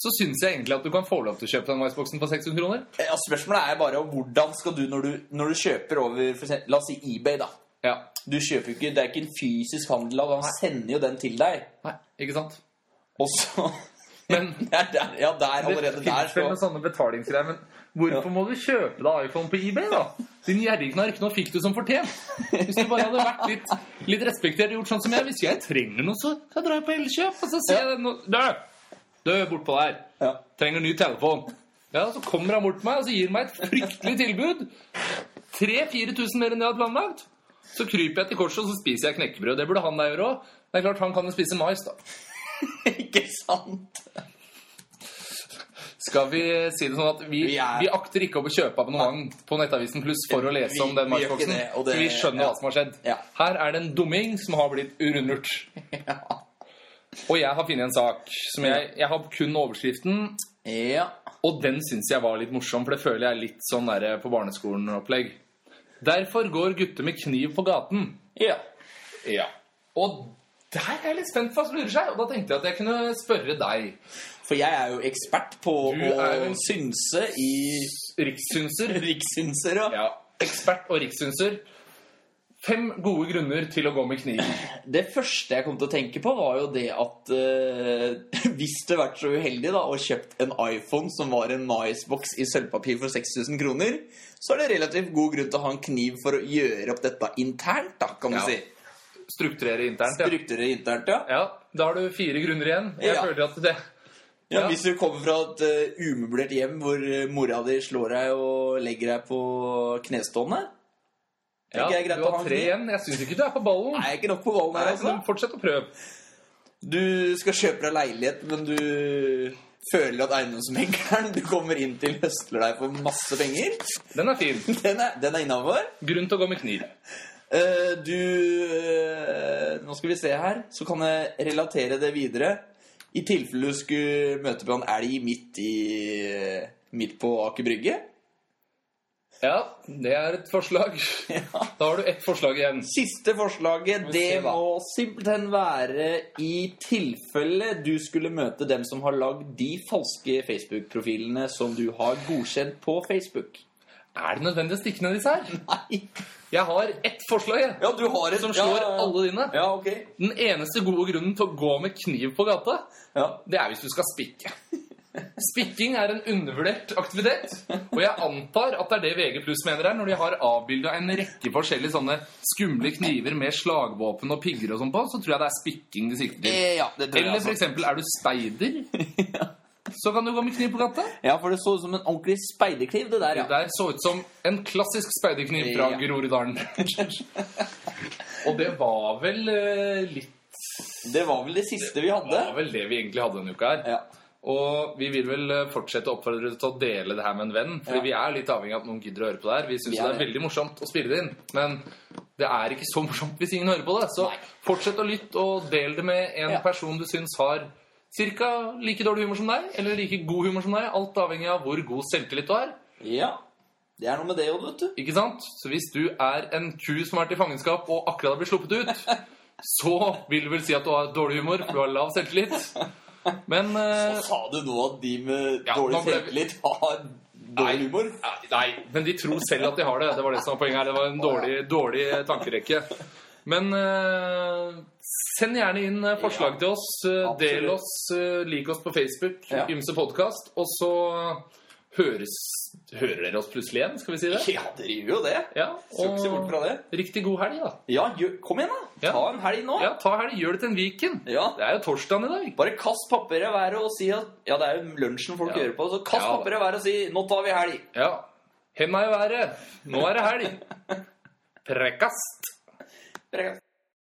så syns jeg egentlig at du kan få lov til å kjøpe den maisboksen for 600 kroner.
Eh, Ja, spørsmålet er bare hvordan skal du når du, når du kjøper over for eksempel, La oss si eBay, da.
Ja.
Du kjøper jo ikke, Det er ikke en fysisk handel, og han sender jo den til deg.
Nei, ikke sant?
Og så
Men
Ja, der, ja, der
Det
allerede der.
finnes vel noen
Så.
sånne betalingsgreier, men hvorfor må du kjøpe deg iPhone på eBay, da? Din gjerrigknark, nå fikk du som fortjent. Hvis du bare hadde vært litt, litt respektert og gjort sånn som jeg Hvis jeg trenger noe, så så drar jeg på Elkjøp, og så ser jeg den og Dø! Dø bortpå der.
Ja.
Trenger ny telefon. Ja, Så kommer han bort til meg og så gir han meg et fryktelig tilbud. 3000-4000 mer enn jeg hadde planlagt. Så kryper jeg til korset og så spiser jeg knekkebrød. Det burde han da gjøre òg. Det er klart, han kan jo spise mais, da.
Ikke sant?
Skal vi si det sånn at vi,
Vi er-
vi akter ikke om å kjøpe abonnement på Nettavisen Pluss for å lese
Vi-
om den
vi gjør ikke
matchboksen?
det, og det-
for vi skjønner
ja.
hva som har skjedd.
Ja.
Her er det en dumming som har blitt rundlurt. Og jeg har funnet en sak som jeg, jeg har kun overskriften,
Ja.
og den syns jeg var litt morsom, for det føler jeg er litt sånn der på barneskolen-opplegg. Derfor går gutter med kniv på gaten.
Ja.
Ja. Og der er jeg litt spent på hva som lurer seg, og da tenkte jeg at jeg kunne spørre deg.
For jeg er jo ekspert på
Du
å
er jo-
synse i
Rikssynser.
rikssynser. Og
Ja, ekspert og rikssynser. Fem gode grunner til å gå med kniv.
Det første jeg kom til å tenke på, var jo det at eh, hvis du hadde vært så uheldig da, og kjøpt en iPhone som var en Nicebox i sølvpapir for 6000 kroner, så er det relativt god grunn til å ha en kniv for å gjøre opp dette internt, da, kan du
Ja.
si.
Strukturere internt, ja.
Brukte dere internt, ja?
ja. Da har du fire grunner igjen. Jeg
Ja.
føler at det
Ja,
Ja.
Hvis du kommer fra et eh, umøblert hjem hvor eh, mora di slår deg og legger deg på knestående
ja,
Tenker jeg er greit
Du
å ha
har
en
tre
kniv.
igjen. Jeg syns ikke du er på ballen.
Nei, ikke nok på ballen her,
Nei,
altså.
så Fortsett å prøve.
Du skal kjøpe deg leilighet, men du føler at eiendomsmegleren du kommer inn til, høsler deg for masse penger.
Den er fin.
Den er, den er innafor.
Grunn til å gå med kniv.
du eh, Nå skal vi se her, så kan jeg relatere det videre. I tilfelle du skulle møte på en elg midt, i, midt på Aker Brygge.
Ja, det er et forslag.
Ja.
Da har du ett forslag igjen.
Siste forslaget,
vi se
det
hva.
må simpelthen være i tilfelle du skulle møte dem som har lagd de falske Facebook-profilene som du har godkjent på Facebook.
Er det nødvendig å stikke ned disse her?
Nei.
Jeg har ett forslag jeg,
Ja, du har et
som slår
ja, ja, ja.
alle dine.
Ja, ok.
Den eneste gode grunnen til å gå med kniv på gata
Ja.
det er hvis du skal spikke. Spikking er en undervurdert aktivitet, og jeg antar at det er det VG pluss mener her, når de har avbilda en rekke forskjellige sånne skumle kniver med slagvåpen og pigger og sånn på, så tror jeg det er spikking de sikter til.
Eh, ja, det tror jeg
Eller for
altså.
eksempel, er du speider, så kan du gå med kniv på gata.
ja, for det så ut som en ordentlig speiderkniv, det der,
Det
ja.
der så ut som en klassisk speiderkniv fra
Ja.
Groruddalen. og det var vel eh, litt
Det var vel det siste vi
Det
hadde.
var vel det vi egentlig hadde denne uka her.
Ja.
Og vi vil vel eh, fortsette å oppfordre dere til å dele det her med en venn. Fordi
Ja.
vi er litt avhengig av at noen gidder å høre på det her. Vi syns
Vi er
det er
det.
veldig morsomt å spille det inn, men det er ikke så morsomt hvis ingen hører på det. Så fortsett å lytte, og del det med en
Ja.
person du syns har ca. like dårlig humor som deg, eller like god humor som deg. Alt avhengig av hvor god selvtillit du har.
ja. Det er noe med det òg, vet du.
Ikke sant? Så hvis du er en ku som har vært i fangenskap og akkurat har blitt sluppet ut, så vil det vel si at du har dårlig humor, for du har lav selvtillit. Men eh,
Sa du nå at de med
Ja,
dårlig
nå ble vi-
selvtillit har dårlig humor?
Nei, Nei, men de tror selv at de har det. Det var det som var poenget her. Det var en dårlig, dårlig tankerekke. Men eh, send gjerne inn eh, forslag til oss. Eh,
Absolutt.
del oss. eh, lik oss på Facebook.
Ja.
Ymse podkast. Og så høres Hører dere oss plutselig igjen? Skal vi si det?
Ja, dere gjør jo det.
Ja,
Skal ikke se bort fra det.
riktig god helg, da.
Ja, gjør, kom igjen, da!
Ja.
Ta en helg nå.
Ja, ta helg. Gjør det til en Viken.
Ja.
Det er jo torsdagen i dag.
Bare kast papir i været og si at Ja, det er jo lunsjen folk
Ja.
hører på, så kast
Ja, da.
papir i været og si 'Nå tar vi helg'.
Ja. Henda i været. Nå er det helg. Prekast.
Dere-